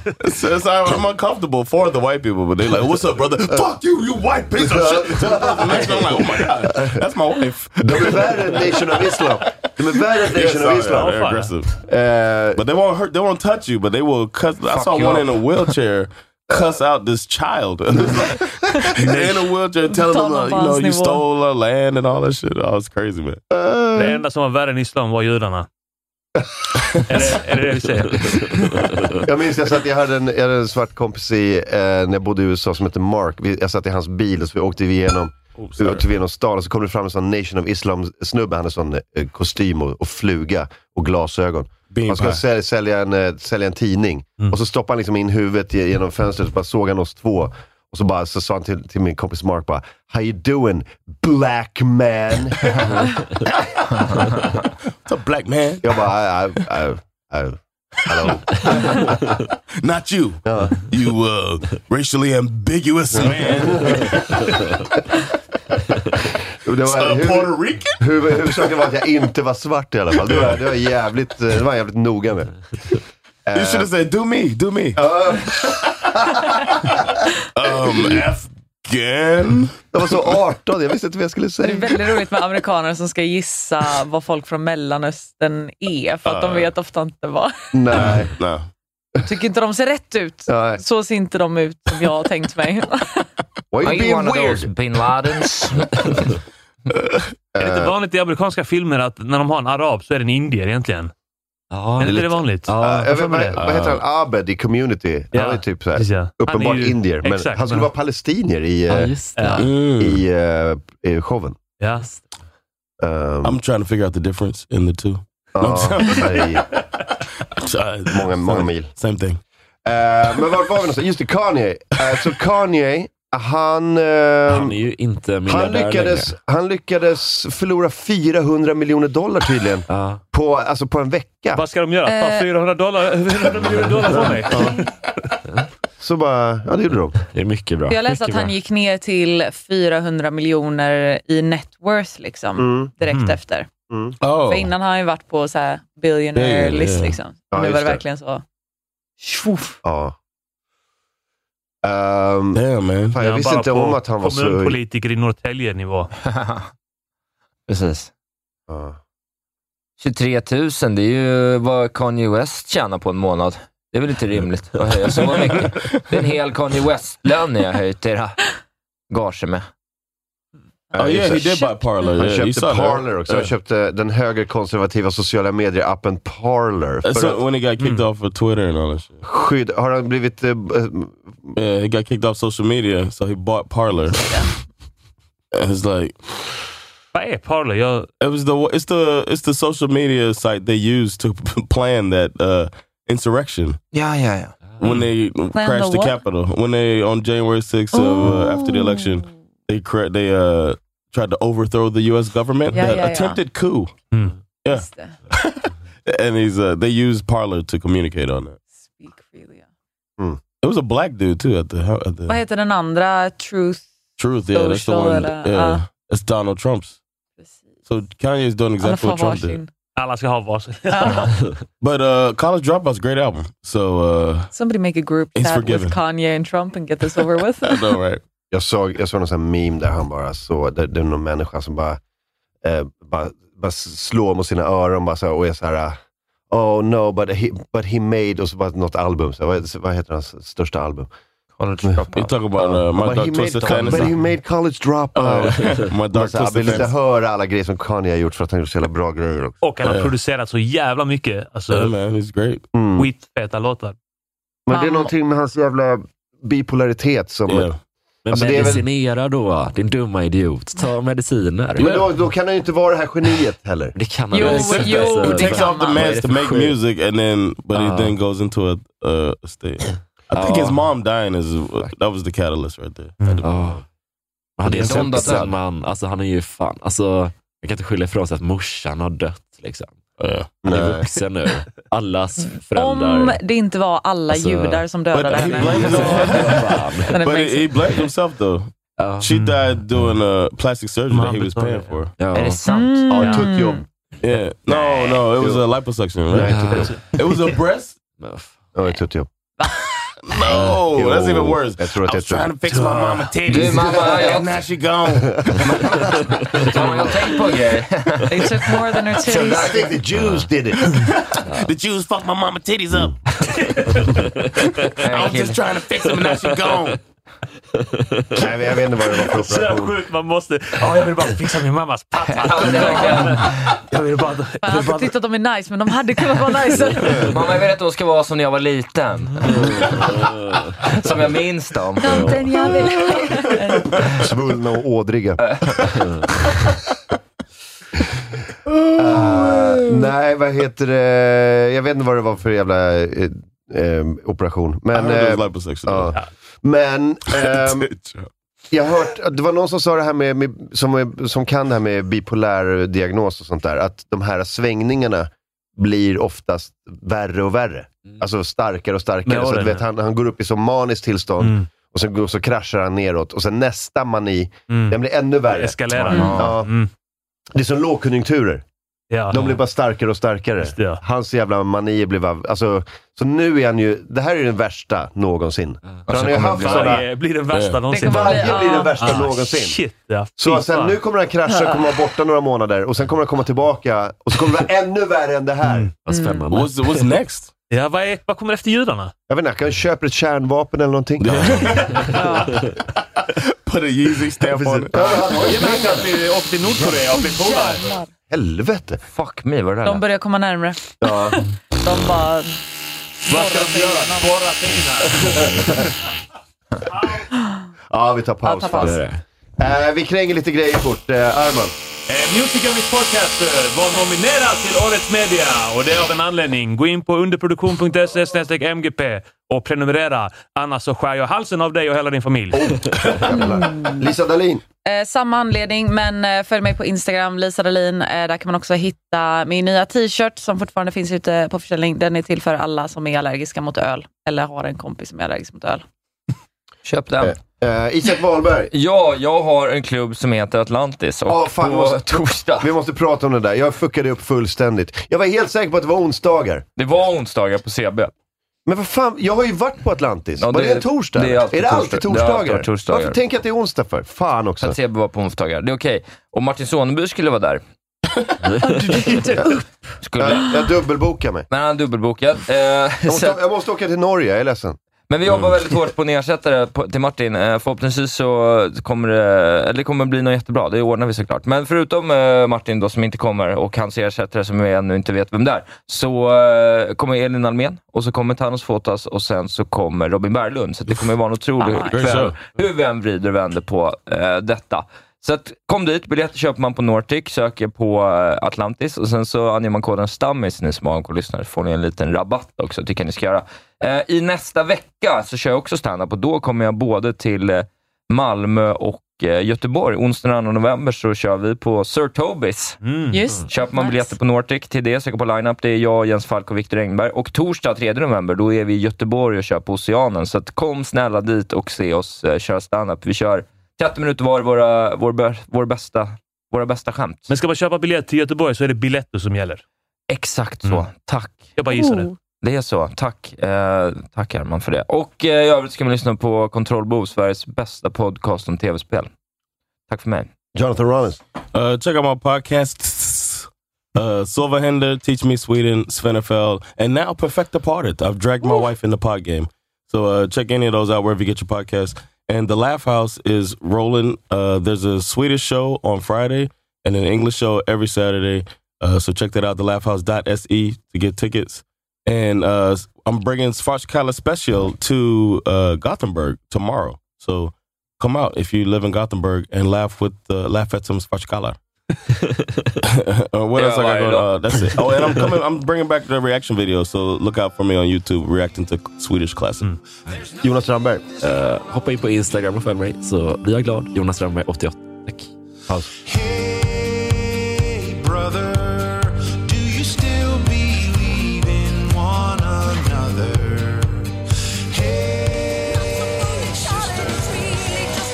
S4: it's, it's, I'm uncomfortable for the white people, but they like, what's up, brother?
S3: Uh.
S4: Fuck you, you white piece of shit. To the person next to me, I'm like, oh my God, that's my wife.
S3: De är värre än Nation of Islam. De är värre än
S4: Yes,
S3: Nation of
S4: sorry,
S3: Islam. Eh,
S4: they're aggressive. but they won't hurt. They won't touch you. But they will cuss. I
S3: Fuck
S4: saw
S3: you
S4: one
S3: up.
S4: in a wheelchair cuss out this child in a wheelchair, telling them, uh, you know, you
S5: Taliban's
S4: stole our land and all that shit. Oh, it's crazy, man.
S3: Uh, Mm.
S5: Det enda som var värre än islam var judarna. är, det, är det det vi säger?
S3: Jag minns jag satt, jag hade en, jag hade en svart kompis i, eh, när jag bodde i USA som hette Mark. Vi, jag satt i hans bil och så vi åkte vi igenom, vi åkte vi igenom stan och så kom det fram en sån Nation of Islam-snubbe. Han hade sån eh, kostym och, och fluga och glasögon.
S4: Bean
S3: Han skulle
S4: pie.
S3: sälja, sälja, en, eh, sälja en tidning och så stoppade han liksom in huvudet ge- genom fönstret och bara såg han oss två. Och så, bara, så sa han till, till min kompis Mark bara, How you doing black man?
S4: It's a black man.
S3: Jag bara, I, I, I, I, hello.
S4: Not you. You uh,
S3: Uh.
S4: racially ambiguous man.
S3: Det var, hur, hur, huvudsaken var att jag inte var svart i alla fall. Det var, det var, jävligt, eh, det var jag jävligt noga med. Uh. Eh,
S4: You should have said, do me, do me. um, Afghan.
S3: Jag var så 18, jag visste inte vad jag skulle
S6: Det är
S3: säga.
S6: väldigt roligt med amerikaner som ska gissa vad folk från Mellanöstern är, för att de
S3: Ja.
S6: vet ofta inte vad.
S3: Nej.
S6: Tycker inte de ser rätt ut. Så ser inte de ut som jag har tänkt mig.
S3: Why
S7: Are you one of
S3: Eh,
S7: those bin Ladens?
S5: Är
S3: Eh.
S5: det inte vanligt i amerikanska filmer att när de har en arab så är det en indier egentligen?
S11: Ja,
S5: är inte det vanligt?
S3: Ja, jag vet, vad, vad heter han? Abed i Community.
S5: Ja.
S3: Han är typ så
S5: Precis, ja.
S3: här,
S5: Han
S3: uppenbart
S5: är ju-
S3: indier. Men
S5: exakt,
S3: han skulle
S5: men-
S3: vara palestinier i,
S5: Ja,
S3: eh,
S5: just det.
S3: i,
S4: Mm.
S3: eh, i showen. Ehm,
S5: Ja.
S4: I'm trying to figure out the difference in the two.
S3: Ja,
S4: många, många mil. Same thing.
S3: Eh, men vart var vi någonstans? Just det, Kanye. Eh, så Kanye, han... ehm, han är
S11: ju inte
S3: han
S11: miljardär
S3: lyckades,
S11: längre.
S3: han lyckades förlora 400 miljoner dollar tydligen. på, alltså på en vecka.
S5: Vad ska de göra? Ta
S3: Eh.
S5: 400 dollar, 400 miljoner dollar från mig?
S3: Så bara, ja det gjorde de.
S11: Det är mycket bra.
S6: Jag läste att han gick ner till 400 miljoner i net worth liksom,
S11: Mm.
S6: direkt
S11: Mm.
S6: efter.
S3: Mm.
S4: Oh.
S6: För innan har han ju varit på så här billionaire
S3: Billionaire,
S6: list.
S3: ja.
S6: Liksom.
S3: Ja,
S6: nu
S3: just
S6: var det
S3: det.
S6: verkligen så.
S3: Ja. Um,
S4: Damn, man.
S3: Fan, jag visste inte om att han var så...
S5: Kommunpolitiker i Norrtälje-nivå.
S7: Precis. 23 000, det är ju vad Kanye West tjänar på en månad. Det är väl inte rimligt att höja så mycket. Det är en hel Kanye West-lön ni har höjt era gager med.
S4: Oh, yeah, he did buy Parler.
S3: Han
S4: Yeah, you
S3: köpte
S4: saw that.
S3: Parler också. Han
S4: Yeah.
S3: köpte den högerkonservativa sociala medier-appen Parler.
S4: That's
S3: För
S4: when he got kicked off of Twitter and all that shit.
S3: att skydda... Har han blivit... eh, b- eh,
S4: Yeah, he got kicked off social media, so he bought Parler. And it's like,
S5: Vad är Parler? Jag...
S4: It was the it's the it's the social media site they used to plan that uh, insurrection.
S7: Ja, ja, ja.
S4: When they
S7: the
S4: crashed the,
S7: what?
S4: Capitol, when they on January 6th of, uh, after the election,
S6: Oh,
S4: they cra- they uh, tried to overthrow the U.S. government,
S7: Yeah,
S4: that
S7: yeah, yeah.
S4: attempted coup. Yeah, and he's uh, they used parlor to communicate on that. It was a black dude too at the ho- at the
S6: Vad heter den andra? Truth?
S4: truth. Yeah, that's the
S6: Social
S4: one.
S6: eller-
S4: yeah,
S6: ah.
S4: that's Donald Trump's. So Kanye's doing exactly what Trump did.
S5: Alla ska ha varsin.
S4: But uh, College Dropout's a great album. So uh,
S6: Somebody make a group
S4: He's
S6: chat
S4: forgiven.
S6: with Kanye and Trump and get this over with.
S3: Jag såg, jag såg någon sån här meme där han bara så, där det är någon människa som bara, eh, bara, bara slår mot sina öron bara så här, och är så här eh, Oh no, but he, but he made, och så bara något album. Så, här, vad, vad heter hans största album?
S7: College
S3: Dropout.
S4: You talk about uh, my
S3: But
S4: dog
S3: he
S4: Twisted
S3: made co- But he
S4: Fantasy.
S3: made college dropout.
S4: Ja, ja. My dark
S3: Man så här,
S4: twisted
S3: vill inte
S4: fantasy.
S3: höra alla grejer som Kanye har gjort för att han har gjort så jävla bra grejer också.
S5: Och han har
S3: Ja.
S5: producerat så jävla mycket. Alltså,
S4: Yeah, man, he's great.
S5: Skitfeta låtar.
S3: Mm. Men det är någonting med hans jävla bipolaritet som...
S11: Men
S3: Alltså, det är väl-
S11: medicinera då, din dumma idiot. Ta mediciner.
S3: Men då, då kan han ju inte vara det här geniet heller.
S11: Det kan
S3: Jo,
S11: inte.
S3: jo,
S11: Så-
S4: He takes off the
S11: Vad är
S4: mask
S11: det
S4: to
S11: för
S4: make
S11: skit?
S4: music, and then but
S11: Ah.
S4: he then goes into a, uh, a state. I think his mom dying is uh, that was the catalyst right there.
S11: Ja. Han är typ
S4: Det är
S11: en
S4: sånt
S11: sen
S4: att-
S11: man. Alltså han är ju fan, alltså man kan inte skylla ifrån sig att morsan har dött liksom. Han är
S4: Nej.
S11: vuxen nu. Allas föräldrar.
S6: Om det inte var alla
S11: Alltså,
S6: judar som dödade
S4: but he
S6: henne.
S4: blamed himself.
S6: And it
S4: but he,
S6: makes
S4: he blamed himself though. She died doing uh, plastic surgery that he was paying for.
S11: Ja.
S7: Är det sant?
S4: Oh,
S7: Ja.
S4: tuttjobb. Yeah. No, no, it was a liposuction, right?
S3: Nej, tuttjobb.
S4: It was a breast?
S3: Ja, ett tuttjobb.
S4: No,
S3: Jo,
S4: that's even worse.
S3: Jag tror att det är
S4: Trying to fix my mama titties.
S7: Du, mamma, jag-
S4: and now she gone.
S7: Fan, jag har tänkt på grejer.
S6: They took more than her
S3: I think the Jews did it.
S4: The Jews fucked my mama titties up. I was just trying to fix them and now she gone.
S3: Nej, men jag vet inte vad det var för
S5: Så
S3: operation.
S5: sjukt, man måste... Ja, jag vill bara fixa min mammas patta. jag vill bara...
S6: Man har alltid tyckt att de är nice, men de hade kunnat vara nice.
S7: Mamma, jag vill att de ska vara som när jag var liten. Som jag minns dem.
S6: Tomten, jag vill...
S3: Svullna och ådriga. Eh, nej, vad heter det? Jag vet inte vad det var för jävla eh, eh, operation. Men,
S4: I heard it
S3: eh,
S4: was liposuction.
S3: ja. Men
S4: Um,
S3: ehm, jag har hört, att det var någon som sa det här med, med som, är- som kan det här med bipolär diagnos och sånt där, att de här svängningarna blir oftast värre och värre. Alltså starkare och starkare.
S5: Mm. Med Mm.
S3: så att,
S5: åren,
S3: du vet, han, han går upp i som maniskt tillstånd Och sen går, så kraschar han neråt. Och sen nästa mani,
S5: Mm.
S3: den blir ännu värre.
S5: Eskalerar.
S3: Mm. Ja. Det är som lågkonjunkturer.
S5: Ja.
S3: De blir bara starkare och starkare. Hans jävla manier blir bara... Alltså, så nu är han ju... Det här är den värsta någonsin. För
S5: så
S3: han har
S7: Alltså,
S3: ju
S5: kommer
S3: haft
S5: det bli- Varje blir den värsta
S3: Eh,
S5: någonsin.
S3: Varje
S5: Ja.
S3: blir den värsta
S5: Ah,
S3: någonsin.
S5: shit, ja.
S3: Så
S5: Fy
S3: sen,
S5: fan.
S3: nu kommer han krascha, kommer vara borta några månader och sen kommer han komma tillbaka och så kommer det vara ännu värre än det här.
S7: Mm.
S11: Vad spännande. What's- what's next?
S5: Ja, vad, är, vad kommer efter judarna?
S3: Jag vet inte, han kanske köper ett kärnvapen eller någonting.
S4: Put a Yeezy stamp on it.
S5: Åk till Nordkorea och bli polare.
S3: Helvete.
S7: Fuck me, vad är det
S6: De
S7: där?
S6: börjar komma närmre.
S3: Ja.
S6: De bara...
S4: Vad ska de göra? Borra sig in här?
S3: Ja, vi tar paus.
S4: Ja, ta paus.
S3: fan. Eh, vi kränger lite grejer fort. Eh, Arman.
S5: Eh, Music of Miss Podcast eh, var nominerad till Årets Media och det är av en anledning. Gå in på underproduktion.se MGP och prenumerera. Annars så skär jag halsen av dig och hela din familj.
S3: Lisa Dahlin.
S6: Eh, samma anledning, men eh, följ mig på Instagram, Lisa Dahlin. Eh, där kan man också hitta min nya t-shirt som fortfarande finns ute på försäljning. Den är till för alla som är allergiska mot öl eller har en kompis som är allergisk mot öl.
S7: Köp den.
S3: Eh, Isak Wahlberg.
S7: Ja, jag har en klubb som heter Atlantis. Och
S3: Ja, fan, vi
S7: på
S3: måste-
S7: torsdag.
S3: Vi måste prata om det där. Jag fuckade upp fullständigt. Jag var helt säker på att det var onsdagar.
S7: Det var onsdagar på CB.
S3: Men vad fan, jag har ju varit på Atlantis.
S7: Ja,
S3: var
S7: det
S3: det
S7: är-
S3: en torsdag?
S7: det är alltid
S3: det alltid
S7: torsdag- det är alltid
S3: torsdagar?
S7: torsdagar.
S3: Varför tänker jag att det är onsdag för? Fan också.
S7: Att CB var på onsdagar. Det är okej. Och Martin Soneby skulle vara där. skulle...
S3: Jag, jag dubbelbokar mig.
S7: Men han är dubbelbokad. Eh,
S3: Jag
S7: så-
S3: måste, jag måste åka till Norge, jag är ledsen.
S7: Men vi jobbar väldigt hårt på en ersättare på, till Martin. Eh, förhoppningsvis så kommer det, eller det kommer bli något jättebra. Det ordnar vi såklart. Men förutom eh, Martin då, som inte kommer och hans ersättare som vi ännu inte vet vem det är, så eh, kommer Elin Almen och så kommer Thanos Fotas och sen så kommer Robin Berglund. Så att det kommer vara en otrolig
S11: Fan, nice.
S7: kväll, hur vi än vrider och vänder på eh, detta. Så att, kom dit, biljetter köper man på Nortic, söker på eh, Atlantis och sen så anger man koden STAMMIS, ni som har och lyssnar, så får ni en liten rabatt också. tycker jag ni ska göra. Eh, I nästa vecka så kör jag också standup och då kommer jag både till eh, Malmö och eh, Göteborg. Onsdagen den 2 november så kör vi på Sir Tobis.
S11: Mm.
S6: Just.
S7: Köper man biljetter på Nortic till det, söker på lineup. Det är jag, Jens Falk och Viktor Engberg. Och torsdag 3 november, då är vi i Göteborg och kör på Oceanen. Så att kom snälla dit och se oss eh, köra standup. Vi kör 30 minuter var, våra, vår, bä- vår bästa, våra bästa skämt.
S5: Men ska man köpa biljett till Göteborg så är det Biletto som gäller.
S7: Exakt
S11: Mm.
S7: så. Tack.
S5: Jag bara gissade. Oh.
S7: Det är så. Tack, eh, tack Herman för det. Och eh, i övrigt ska man lyssna på Kontrollbov, Sveriges bästa podcast om tv-spel. Tack för mig.
S3: Jonathan Rollins.
S4: Uh, check out my podcasts. Uh, Silva Hinder, Teach Me Sweden, Svenefeld, and now Perfect Parted. I've dragged my wife in the pod game. So uh, check any of those out wherever you get your podcasts. And The Laugh House is rolling. Uh, there's a Swedish show on Friday and an English show every Saturday. Uh, so check that out, thelaughhouse.se E to get tickets. And uh, I'm bringing Svartskala Special to uh, Gothenburg tomorrow. So come out if you live in Gothenburg and laugh with uh, laugh at some Svartskala. uh, what
S7: Yeah,
S4: else I got
S7: why
S4: going
S7: not?
S4: on? Uh, that's it. Oh, and I'm coming. I'm bringing back the reaction video, so look out for me on YouTube reacting to Swedish classic.
S3: Jonas Strandberg.
S11: Eh, hoppa in på Instagram och följ mig. Så blir jag glad. Jonas Strandberg, 88. Tack.
S19: brother, do you still believe in one another? Hey, sister.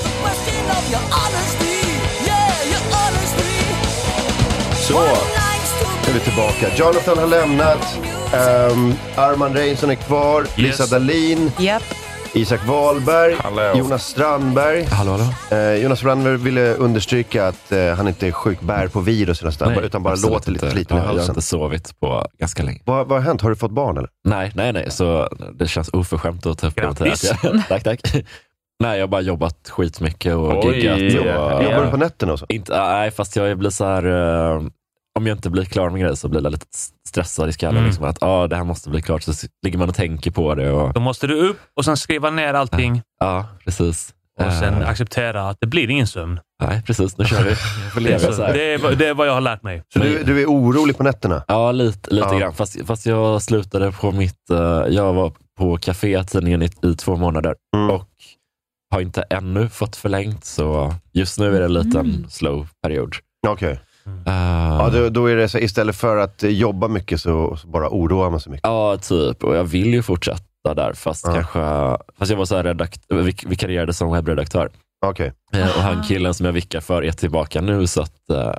S3: Så, nu är vi tillbaka. Jonathan har lämnat. Ehm, Arman Reinsson är kvar. Lisa Dahlin. Isak Wahlberg. Jonas Strandberg. Eh, Jonas Strandberg ville understryka att eh, han inte är sjuk, bär på virus eller något sånt där, utan bara
S11: absolut
S3: låter lite
S11: inte.
S3: sliten
S11: ja,
S3: i
S11: Jag har
S3: halsen.
S11: inte sovit på ganska länge.
S3: Vad, vad har hänt? Har du fått barn eller?
S11: Nej, nej, nej. Så det känns oförskämt att ta upp det.
S3: Grattis.
S11: till att jag- tack, tack. Nej, jag har bara jobbat skitmycket och
S3: Oj.
S11: giggat.
S3: Jobbar-
S11: Och,
S3: jobbar du på nätterna och så?
S11: Inte, nej, fast jag blir så här... eh, om jag inte blir klar med grejer så blir jag lite stressad i skallen.
S5: Mm.
S11: Liksom, att ah, det här måste bli klart. Så s- ligger man och tänker på det. Och,
S5: Då måste du upp och sen skriva ner allting
S11: ja, precis.
S5: och
S7: Ah.
S5: sen
S11: Eh,
S5: acceptera att det blir ingen sömn.
S11: nej, precis. Nu kör vi. Jag får leva så här.
S5: det, är, vad- det är vad jag har lärt mig.
S3: Så du, du är orolig på nätterna?
S11: Ja, lite, lite
S3: Ja.
S11: grann. Fast, fast jag slutade på mitt... eh, jag var på Café tidningen i, i två månader och har inte ännu fått förlängt. Så just nu är det en liten
S3: Mm.
S11: slow period.
S3: Okej.
S4: Eh,
S3: Ja, då, då är det så, istället för att eh, jobba mycket så, så bara oroar man sig mycket.
S11: Ja, typ. Och jag vill ju fortsatt
S4: där, fast kanske... Fast jag var så här redakt, vik, vikarierade som webbredaktör. Eh,
S3: Okay.
S4: och han killen som jag vickar för är tillbaka nu, så att, eh,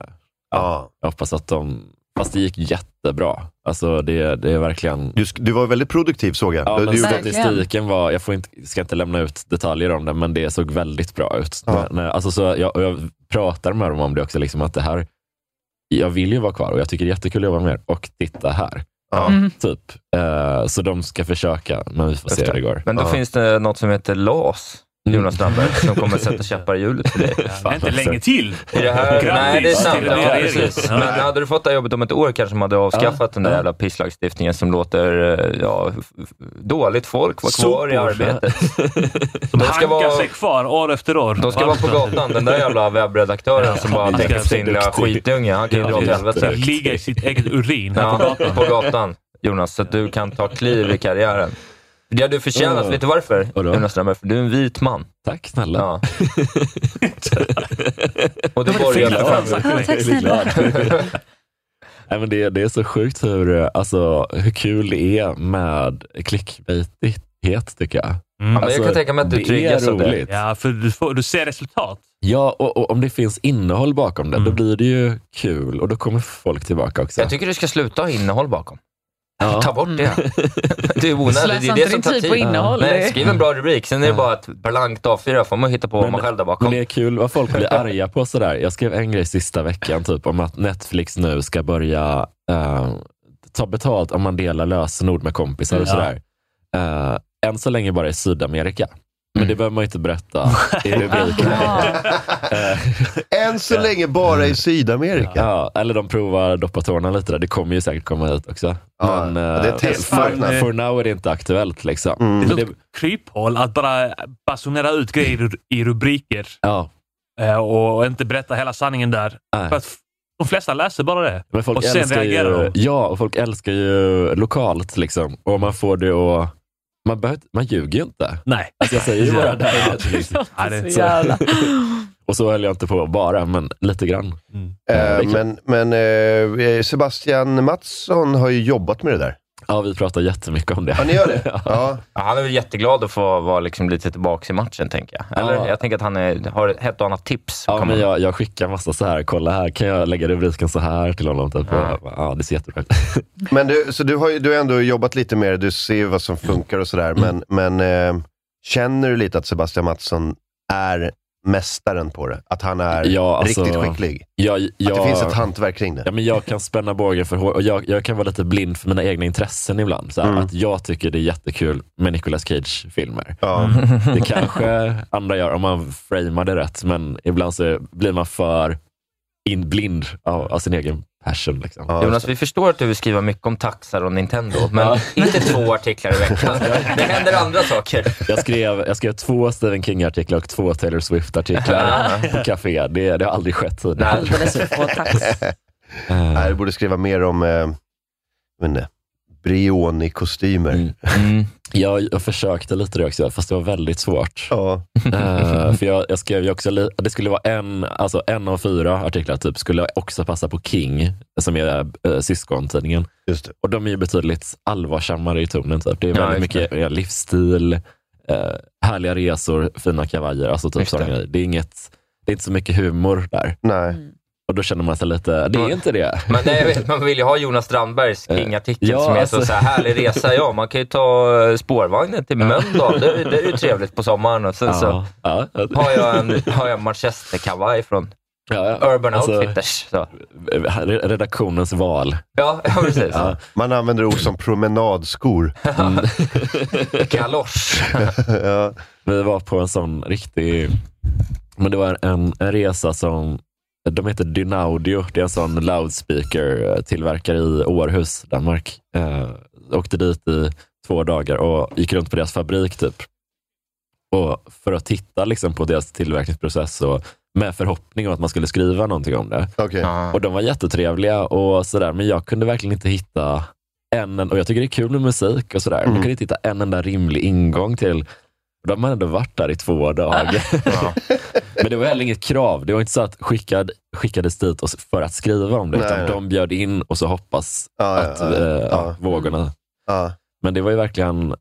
S4: ja, jag hoppas att de... Fast det gick jättebra. Alltså det, det är verkligen...
S3: Du, sk- du var väldigt produktiv såg jag.
S4: Ja,
S3: du,
S4: men
S3: du gjorde-
S4: statistiken var, jag får inte, ska inte lämna ut detaljer om det, men det såg väldigt bra ut. Men, eh, alltså, så jag, och jag pratar med dem om det också, liksom, att det här, jag vill ju vara kvar och jag tycker det är jättekul att jobba med er. Och titta här.
S7: Mm.
S4: Typ. Eh, så de ska försöka, men vi får se hur det går.
S7: Men då
S4: Ja. Mm.
S7: finns det något som heter LAS, Jonas Strandberg, som kommer sätta käppar i hjulet för dig.
S4: Fan, Inte alltså. länge till.
S7: I det här,
S4: Grattis
S7: nej, det är sant.
S4: till
S7: Ja,
S4: regeringen.
S7: precis.
S4: Ja.
S7: Men hade du fått det här jobbet om ett år kanske man hade avskaffat den där
S4: Ja.
S7: jävla pisslagstiftningen som låter eh, ja, f- f- dåligt folk vara kvar i
S5: Sopor.
S7: arbetet.
S5: De
S7: ska
S5: hankar
S7: vara-
S5: sig kvar år efter år.
S7: De ska vara på gatan, den där jävla webbredaktören som bara tänker på sin lilla skitunge. Han kan ju dra åt helvete.
S5: Ligga i sitt eget urin här på
S7: Ja,
S5: gatan.
S7: på gatan, Jonas, så att du kan ta kliv i karriären. Det har du förtjänat.
S4: Ja.
S7: Vet du varför, Jonas Strömberg? För du är en vit man.
S4: Tack snälla.
S7: Ja. Och du
S4: Det var
S7: borgar
S4: fel
S7: för
S4: framsnack. Jag är glad. Nej, men det, det är så sjukt hur, eh, alltså, hur kul det är med clickbaitighet, tycker jag. Alltså, det är roligt.
S5: Mm. Ja, för du, får, du ser resultat. Mm.
S4: Ja, och, och om det finns innehåll bakom det, då blir det ju kul och då kommer folk tillbaka också.
S7: Jag tycker du ska sluta ha innehåll bakom.
S4: Ja.
S7: Ta bort det. Det är
S4: Slösa
S7: onödigt. Det
S4: inte
S7: är
S4: din
S7: det som tar
S4: tid
S7: tid.
S4: på innehåll.
S7: Nej, skriv en bra rubrik. Sen är det
S4: Ja.
S7: bara ett blankt A4. får man hitta på vad man själv där bakom.
S4: Men det är kul vad folk blir arga på sådär. Jag skrev en grej sista veckan typ om att Netflix nu ska börja eh, ta betalt om man delar lösenord med kompisar och
S5: Ja.
S4: sådär. Eh, än så länge bara i Sydamerika. Men det behöver man ju inte berätta i rubriken.
S3: Än så länge bara
S4: Mm.
S3: i Sydamerika.
S4: Ja, eller de provar doppa tårna lite där. Det kommer ju säkert komma hit också.
S3: Ja,
S4: Men, eh,
S3: det är Mm. testmarknad.
S4: For, for now är det inte aktuellt. Liksom.
S5: Det
S4: Men
S5: är ett kryphål att bara basunera ut grejer i rubriker
S4: Ja.
S5: Eh, och och inte berätta hela sanningen där.
S4: Nej.
S5: För att f- de flesta läser bara det
S4: Men folk
S5: och sen
S4: älskar
S5: reagerar
S4: ju,
S5: de.
S4: Ja, och folk älskar ju lokalt. Liksom. Och man får det att... Man, behöver, man ljuger ju inte.
S5: Nej.
S4: Alltså jag säger ju bara det här. Liksom.
S5: Ja, det är så jävla-
S4: Och så höll jag inte på bara, men lite grann.
S3: Eh, men men eh, Sebastian Mattsson har ju jobbat med det där.
S4: Ja, vi pratar jättemycket om det. Ja,
S3: ni gör det? ja.
S7: Han är väl jätteglad att få vara liksom lite tillbaka i matchen, tänker jag. Eller,
S4: Ja.
S7: Jag tänker att han är, har ett och annat tips.
S4: Ja,
S7: kan
S4: men
S7: man-
S4: jag, jag skickar massa så här, kolla här, kan jag lägga rubriken så här till honom? Typ. Ja. ja, det ser jättebra ut.
S3: Men du, så du har ju du har ändå jobbat lite med det, du ser ju vad som funkar och sådär.
S4: Mm.
S3: Men, men eh, känner du lite att Sebastian Mattsson är mästaren på det? Att han är
S4: Ja, alltså,
S3: riktigt skicklig?
S4: Jag, jag,
S3: att det finns ett hantverk kring det?
S4: Ja, men jag kan spänna bågen för hår och jag, jag kan vara lite blind för mina egna intressen ibland. Så här,
S3: Mm.
S4: Att jag tycker det är jättekul med Nicolas Cage-filmer. Det kanske andra gör om man framar det rätt, men ibland så blir man för in blind av, av sin egen passion. Liksom.
S7: Jonas, vi förstår att du vill skriva mycket om taxar och Nintendo, men inte två artiklar i veckan. Det händer andra saker.
S4: Jag skrev, jag skrev två Stephen King-artiklar och två Taylor Swift-artiklar
S7: Ah.
S4: på café. Det, det har aldrig skett tidigare.
S3: Alldeles
S20: för få
S11: Mm.
S3: Nej, du borde skriva mer om, eh, jag vet inte, Brioni-kostymer.
S11: Mm.
S4: Mm.
S7: Mm.
S4: Jag, jag försökte lite det också, fast det var väldigt svårt. Eh, för jag, jag skrev ju också, li- det skulle vara en, alltså en av fyra artiklar typ, skulle också passa på King, som är uh, syskontidningen. Och de är ju betydligt allvarsammare i tonen. Typ. Det är
S7: Ja,
S4: väldigt
S7: just det.
S4: mycket eh, livsstil, eh, härliga resor, fina kavajer. Alltså typ
S7: Just
S4: sådana
S7: det.
S4: grejer. Det är inget, det är inte så mycket humor där.
S3: Nej.
S4: Och då känner man sig lite, det är inte det.
S7: Men nej, jag vet, man vill ju ha Jonas Strandbergs King-artikel
S4: Ja,
S7: som är
S4: alltså.
S7: så, så här härlig resa. Ja, man kan ju ta eh, spårvagnen till Mölndal. Det, det är ju trevligt på sommaren. Och sen så har jag en, har jag en manchesterkavaj från Urban Outfitters.
S4: Redaktionens val.
S7: Ja, ja precis.
S3: Man använder ord som promenadskor.
S7: Galosch.
S4: Vi var på en sån riktig... Men det var en, en resa som... De heter Dynaudio. Det är en sån loudspeaker-tillverkare i Århus, Danmark. Eh, åkte dit i två dagar och gick runt på deras fabrik typ. Och för att titta liksom, på deras tillverkningsprocess och med förhoppning om att man skulle skriva någonting om det. Och de var jättetrevliga och sådär, men jag kunde verkligen inte hitta en, en- och jag tycker det är kul med musik och
S3: Mm.
S4: sådär, men jag kunde inte hitta en enda rimlig ingång till då har man ändå varit där i två dagar. Men det var heller inget krav. Det var inte så att skickad, skickades dit och s- för att skriva om det,
S3: Nej,
S4: utan
S3: nej.
S4: de bjöd in och så hoppas
S3: Ja, ja,
S4: att
S3: ja,
S4: eh,
S3: ja.
S4: vågorna...
S3: Ja.
S4: Men det var ju verkligen...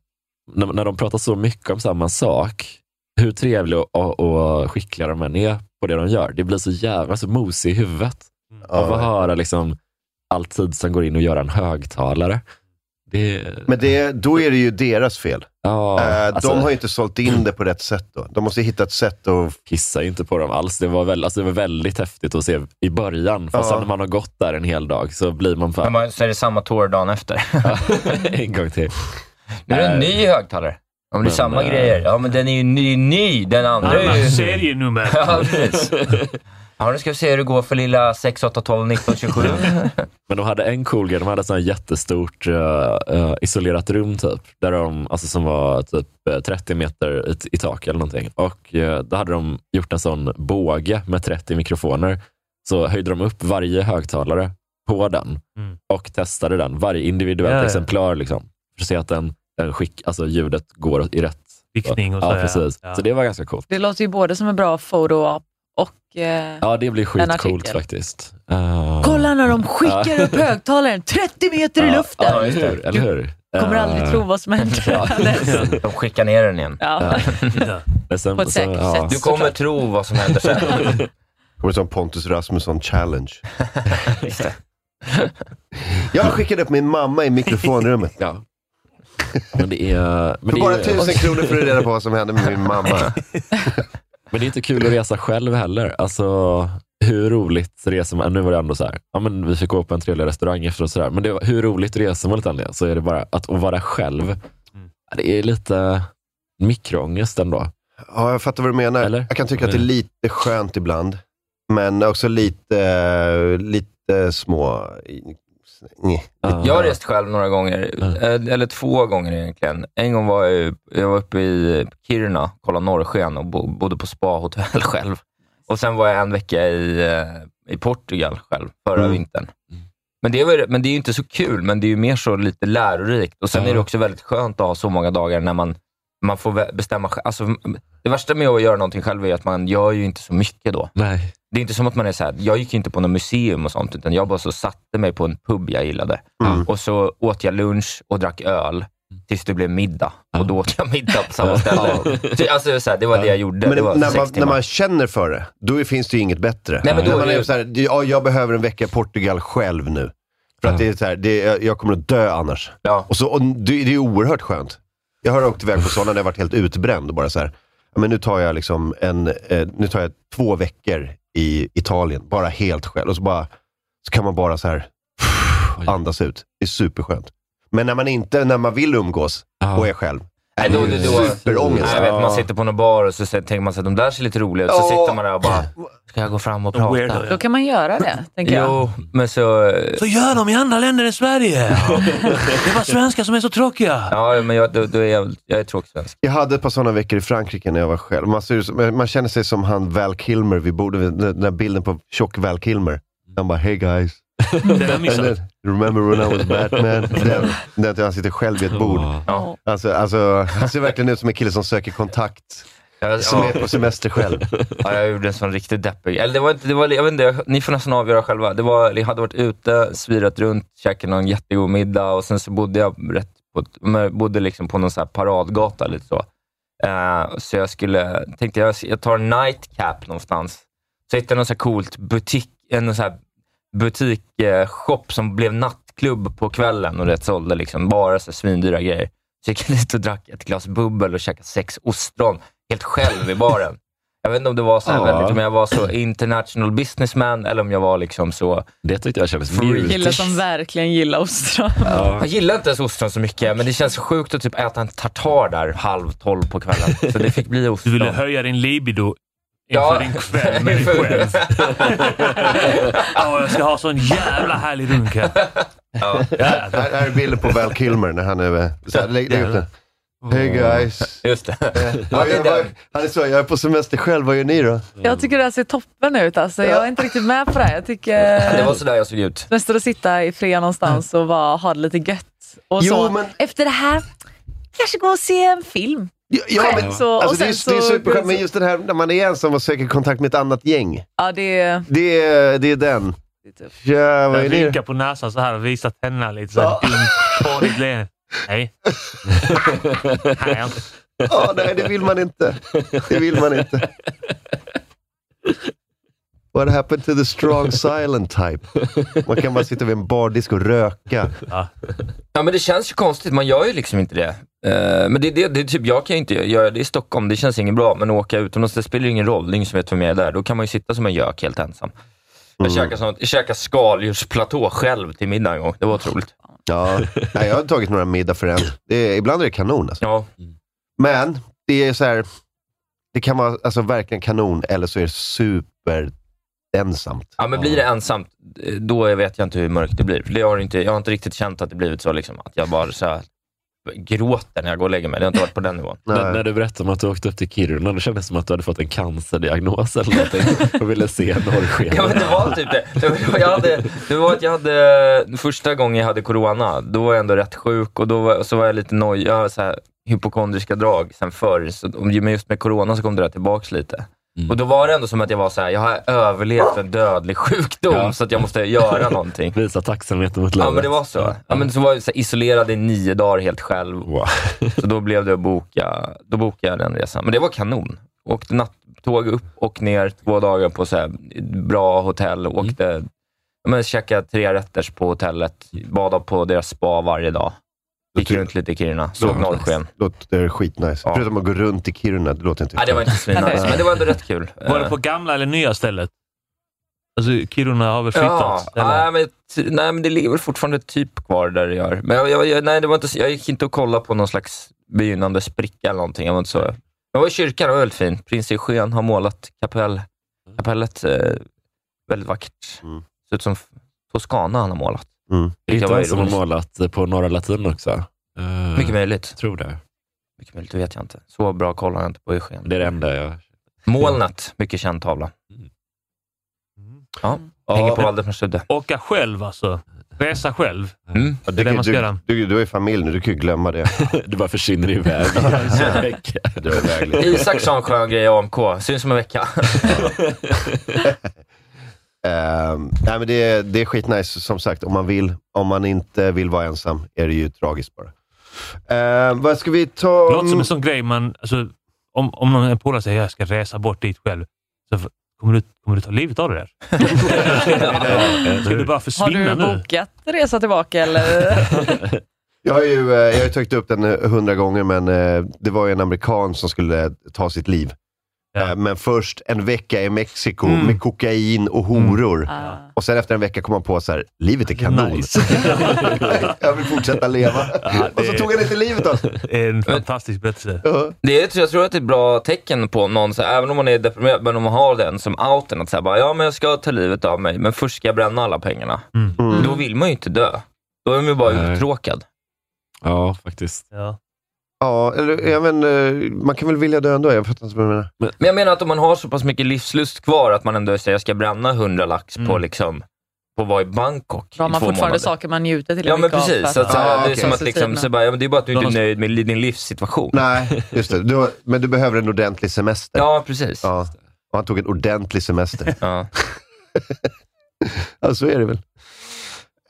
S11: när, när de pratar så mycket om samma sak, hur trevliga och, och skickliga de än är på det de gör. Det blir så jävla så mosig i huvudet av att höra liksom, all tid som går in och göra en högtalare. Det,
S3: Men det, då är det ju deras fel. Eh,
S11: alltså-
S3: de har ju inte sålt in det på rätt sätt då. De måste hitta ett sätt att...
S11: Kissa inte på dem alls. Det var, väl, alltså det var väldigt häftigt att se i början. Fast
S3: Ja.
S11: sen när man har gått där en hel dag så blir man fan...
S7: Men man, så är det samma tår dagen efter.
S11: en gång till.
S7: Nu är det en ny högtalare. Om det är
S11: Men,
S7: samma
S11: eh,
S7: grejer. Ja, men den är ju ny, ny. Den andra är ju...
S5: serienummer.
S7: Ja, precis. Ja, nu ska vi se hur det går för lilla 6, 8, 12, 19, 27.
S11: Men de hade en cool grej. De hade ett sånt här jättestort eh, eh, isolerat rum typ. Där de, alltså, som var typ eh, 30 meter i, i tak eller någonting. Och uh, då hade de gjort en sån båge med 30 mikrofoner. Så höjde de upp varje högtalare på den och testade den. Varje individuellt
S5: Ja, ja.
S11: exemplar liksom. För att se att den, den skick, alltså ljudet går i rätt
S5: Riktning och så,
S11: Ja,
S5: ja.
S11: precis.
S5: Ja.
S11: Så det var ganska coolt.
S6: Det låter ju både som en bra photo-op och... Eh,
S11: Ja, det blir
S6: En
S11: skitcoolt
S6: artikel.
S11: faktiskt. Eh,
S8: Kolla när de skickar
S11: Ja.
S8: upp högtalaren 30 meter i
S11: Ja,
S8: luften.
S11: Ja, just det. Eller hur?
S8: kommer aldrig tro vad som händer.
S7: De skickar ner den igen.
S8: Ja.
S11: Men sen-
S8: På ett säkert
S11: sen-
S8: sätt.
S7: Du kommer tro vad som händer sen.
S3: Kommer som Pontus Rasmusson challenge. Jag skickade upp min mamma i mikrofonrummet.
S11: ja. Men det är... Men
S3: för
S11: det
S3: bara
S11: är,
S3: tusen kronor får du reda på vad som hände med min mamma.
S11: Men det är inte kul att resa själv heller. Alltså, hur roligt reser man? Nu var det ändå så här, ja, men vi fick gå på en trevlig restaurang efteråt. Så där. Men det, var- hur roligt reser man utan det? Så är det bara att, att vara själv.
S5: Mm.
S11: ja, Det är lite mikroångest ändå.
S3: Ja, jag fattar vad du menar. Jag kan tycka att det är lite skönt ibland. Men också lite, eh, lite små... Nej.
S7: Jag har rest själv några gånger, eh, eller två gånger egentligen. En gång var jag, ju- jag var uppe i Kiruna, kollade norrsken och bo, bodde på spahotell själv. Och sen var jag en vecka i, eh, i Portugal själv, förra vintern. Men det, var, ju- men det är ju inte så kul, men det är ju mer så lite lärorikt. Och Sen är det också väldigt skönt att ha så många dagar när man, man får vä- bestämma själv. Alltså, det värsta med att göra någonting själv är att man gör ju inte så mycket då.
S11: Nej.
S7: Det är inte som att man är så här, jag gick ju inte på något museum och sånt, utan jag bara så satte mig på en pub jag gillade.
S3: Mm.
S7: Och så åt jag lunch och drack öl tills det blev middag. Och då åt jag middag på samma ställe. Ty- alltså, så här, det var det jag gjorde.
S3: Men
S7: det var
S3: när,
S7: sex
S3: man, när
S7: timmar.
S3: man känner för det, då finns det ju inget bättre.
S7: Nej, men då
S3: när
S7: är
S3: man
S7: det
S3: är
S7: ju-
S3: så här, ja, jag behöver en vecka i Portugal själv nu. För att det är så här, det är, jag kommer att dö annars. Och så, och det, det är oerhört skönt. Jag har åkt iväg på sådana när jag varit helt utbränd och bara så här, ja, men nu tar jag liksom en, eh, nu tar jag två veckor i Italien, bara helt själv. Och så, bara, så kan man bara så här andas ut. Det är superskönt. Men när man inte, när man vill umgås och är själv,
S7: Nej, då,
S3: är
S7: då,
S3: det
S7: då,
S3: superångest.
S7: Nej, jag vet, man sitter på någon bar och så ser- tänker man sig att de där ser lite roliga ut. Så
S6: Ja.
S7: sitter man där och bara, ska jag gå fram och prata?
S6: Då kan man göra det, tänker jag.
S7: Jo, men så...
S5: Så gör de i andra länder än Sverige. Det är bara svenskar som är så tråkiga.
S7: Ja, men jag, då, då är jag, jag är tråkig svensk.
S3: Jag hade ett par sådana veckor i Frankrike när jag var själv. Man, ser, ut som- man känner sig som han Val Kilmer vid bordet, vid- den där bilden på tjock Val
S7: Mm.
S3: Kilmer. Han bara, hey guys.
S5: har jag missat.
S3: And then, Remember when I was Batman? Den, den där han sitter själv vid ett bord. Alltså, alltså, han ser verkligen ut som en kille som söker kontakt.
S7: Ja,
S3: Som
S7: ja.
S3: är på semester själv.
S7: Ja, jag gjorde en sån riktigt deppig. Eller det var inte, det var, jag vet inte, jag- ni får nästan avgöra själva. Det var, jag hade varit ute, svirat runt, käkat någon jättegod middag och sen så bodde jag rätt på, ett- men jag bodde liksom på någon så här paradgata lite så. Eh, så jag skulle, tänkte jag, jag tar en nightcap någonstans. Så hittade jag någon så här coolt butik, en någon så här butikshop som blev nattklubb på kvällen och det sålde liksom bara så här svindyra grejer. Så gick jag dit och drack ett glas bubbel och käkade sex ostron helt själv i baren. Jag vet inte om det var så här
S11: Ja.
S7: väldigt, om jag var så international businessman eller om jag var liksom så...
S11: Det tyckte jag kändes
S6: Killar som verkligen gillar ostron.
S7: Jag gillar inte ens ostron så mycket, men det känns sjukt att typ äta en tartar där halv tolv på kvällen. Så det fick bli ostron.
S5: Du ville höja din libido inför
S7: Ja.
S5: din kväll med dig själv. Ja, jag ska ha sån jävla härlig runk här.
S3: Här, här är bilden på Val Kilmer när han är... Så här, lägg, lägg upp den. Hey guys.
S7: Just det.
S3: Vad gör- vad- Han är så, jag är på semester själv, vad gör ni då?
S6: Jag tycker det här ser toppen ut. Alltså. Jag är inte riktigt med på det här. Jag tycker...
S7: Det var sådär jag såg ut.
S6: Nästan att sitta i fred någonstans och bara ha det lite gött. Och
S3: Jo,
S6: så,
S3: men-
S6: Efter det här, kanske gå och se en film.
S3: Ja,
S6: Själv,
S3: men,
S6: så- och
S3: alltså, det,
S6: sen
S3: är, det är
S6: så-
S3: superskönt, men just det här när man är ensam och söker kontakt med ett annat gäng.
S6: Ja, det är...
S3: Det är, det är den. Tja, vad är
S5: Jag
S3: det?
S5: rynkar på näsan så här och visar tänderna lite. Så här, dumt, fånigt leende. Nej. Här är jag inte.
S3: Ja, nej, det vill man inte. Det vill man inte. What happened to the strong silent type? Man kan bara sitta vid en bardisk och röka.
S7: Ja, men det känns ju konstigt. Man gör ju liksom inte det. Eh, Men det, det, det är typ, jag kan ju inte göra det i Stockholm. Det känns inget bra. Men att åka utomlands, det spelar ju ingen roll. Det är ingen som vet vem jag är där. Då kan man ju sitta som en gök helt ensam. Jag
S3: Mm.
S7: käkade, sånt, jag käkade skaldjursplatå själv till middag en gång. Det var otroligt.
S3: Ja, nej, jag har tagit några middag för en. Det är, ibland är det kanon alltså. Men det är så här, det kan vara alltså, verkligen kanon eller så är det super ensamt.
S7: Ja, men blir det ensamt, eh, då vet jag inte hur mörkt det blir. För Det har inte, jag har inte riktigt känt att det blivit så, liksom, att jag bara så här, gråter när jag går och lägger mig. Det har inte varit på den nivån.
S11: När, när du berättade om att du åkte upp till Kiruna, det kändes som att du hade fått en cancerdiagnos eller någonting och ville se norrsken.
S7: Ja, men det var typ det. Det var, jag hade, det var att jag hade, första gången jag hade corona, då var jag ändå rätt sjuk och då var, så var jag lite nojig. Jag har så här hypokondriska drag sen förr, så, om- men just med corona så kom det där tillbaka lite. Och då var det ändå som att jag var så här, jag har överlevt en dödlig sjukdom, så att jag måste göra någonting.
S11: Visa tacksamhet mot
S7: Ja,
S11: landet.
S7: men det var så. Ja, men så var jag så här isolerad i nio dagar helt själv. Så då blev det att boka, då bokade jag den resan. Men det var kanon. Åkte nattåg upp och ner två dagar på så här bra hotell. Åkte, ja, men käkade tre rätters på hotellet. Badade på deras spa varje dag. Gick runt lite i Kiruna. Såg
S3: Låter-
S7: norrsken.
S3: Låter skitnice. Förutom att gå runt i Kiruna, det låter inte
S7: Nej, det var inte svinnice, men det var ändå rätt kul.
S5: Var det på gamla eller nya stället? Alltså, Kiruna har väl flyttat?
S7: Ja,
S5: eller?
S7: nej, men, ty- nej, men det ligger väl fortfarande typ kvar där det gör. Men jag, jag, jag, nej, det var inte, så- jag gick inte och kollade på någon slags begynnande spricka eller någonting. Jag var inte så. Jag var i kyrkan, det var väldigt fint. Prins Eugen har målat kapell, kapellet eh, väldigt vackert. Ser ut som Toscana han har målat.
S3: Mm.
S11: Det är inte
S7: Jag var
S11: han som har
S7: ironisk.
S11: målat på Norra Latin också? Eh,
S7: Mycket möjligt.
S11: Tror det.
S7: Mycket möjligt, det vet jag inte. Så bra kollar jag inte på Eugen.
S11: Det är det enda jag...
S7: Molnet, mycket känd tavla. Ja, hänger på Waldemarsudde.
S5: Åka själv alltså. Resa själv.
S7: Mm.
S3: Ja,
S5: Det är det man ska
S3: du,
S5: göra.
S3: du, du, du är ju familj nu, du kan ju glömma det.
S11: du bara försvinner iväg.
S3: Drar iväg lite.
S7: Isak sa en skön grej i AMK. Syns om en vecka.
S3: Ehm, nej, men det, är- det är skitnice, som sagt, om man vill. Om man inte vill vara ensam är det ju tragiskt bara. Ehm, vad ska vi ta?
S5: Det låter som en sån grej man... Alltså, om, om någon polare säger jag ska resa bort dit själv, så f- kommer du, kommer du ta livet av dig där? Ska du bara
S6: Har
S5: försvinna
S6: du
S5: nu?
S6: bokat resa tillbaka eller?
S3: Jag har ju eh, jag har ju tagit upp den eh, hundra gånger, men eh, det var ju en amerikan som skulle eh, ta sitt liv. Eh, Men först en vecka i Mexiko
S5: Mm.
S3: med kokain och horor. Och sen efter en vecka kom han på så här, livet är kanon. jag vill fortsätta leva. och så tog han inte livet av sig.
S5: Det är en fantastisk berättelse.
S7: Det är, jag tror att det är ett bra tecken på någon, så, här, även om man är deprimerad, men om man har den som outen, att säga bara, ja men jag ska ta livet av mig, men först ska jag bränna alla pengarna. Då vill man ju inte dö. Då är man ju bara uttråkad.
S11: Ja, faktiskt.
S5: Ja.
S3: Ja, eller jag men, eh, man kan väl vilja dö ändå? Jag fattar inte vad du menar.
S7: Men jag menar att om man har så pass mycket livslust kvar att man ändå säger, jag ska bränna 100 lax på liksom, på att vara i Bangkok
S6: Då har
S7: i
S6: man
S7: två
S6: fortfarande
S7: månader.
S6: saker man njuter till
S7: Ja
S6: och
S7: men
S6: mycket av för
S7: precis, så att, så här,
S3: Ah,
S7: det är
S3: okej.
S7: som att liksom,
S6: typ-
S7: så bara, ja, men det är bara att du inte är
S3: Då-
S7: nöjd med li- din livssituation.
S3: Nej, just det. Du har, men du behöver en ordentlig semester.
S7: Ja, precis.
S3: Ja. Och han tog en ordentlig semester.
S7: ja.
S3: ja, så är det väl.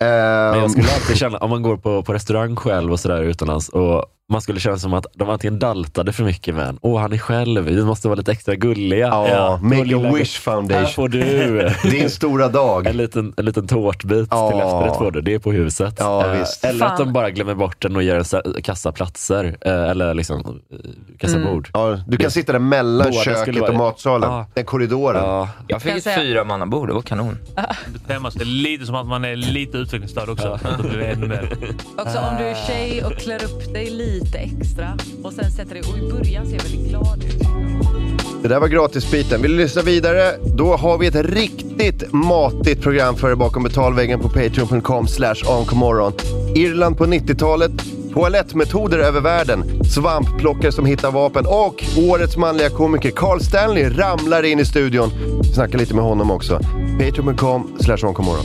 S3: Ehm,
S11: Men jag skulle alltid känna, om man går på, på restaurang själv och sådär utomlands, och man skulle känna som att de antingen daltade för mycket med en. Åh, han är själv. Vi måste vara lite extra gulliga.
S3: Ja,
S11: Då
S3: Make
S11: lilla-
S3: a Wish Foundation.
S11: Här får du.
S3: Din stora dag.
S11: En liten, en liten tårtbit till efterrätt får du. Det är på huset.
S3: Ja,
S11: Eh,
S3: visst.
S11: Eller att
S3: Fan.
S11: de bara glömmer bort den och gör en så här kassaplatser. eh, Eller liksom eh, kassabord.
S3: Ja, du kan sitta där mellan köket och matsalen. Den korridoren.
S11: Ja.
S7: Jag fick
S5: Kan
S7: ett
S5: jag säga-
S7: fyramannabord, det var kanon.
S5: Det femmas är lite som att man är lite utvecklingsstörd också. Då blir det ännu mer.
S8: Också om du är tjej och klär upp dig lite extra och sen sätter dig... Och i början ser jag väldigt glad ut.
S3: Det där var gratisbiten. Vill du lyssna vidare? Då har vi ett riktigt matigt program för dig bakom betalväggen på patreon.com slash onkomorron. Irland på 90-talet, toalettmetoder över världen, svampplockare som hittar vapen och årets manliga komiker Carl Stanley ramlar in i studion. Vi snackar lite med honom också. Patreon.com slash onkomorron.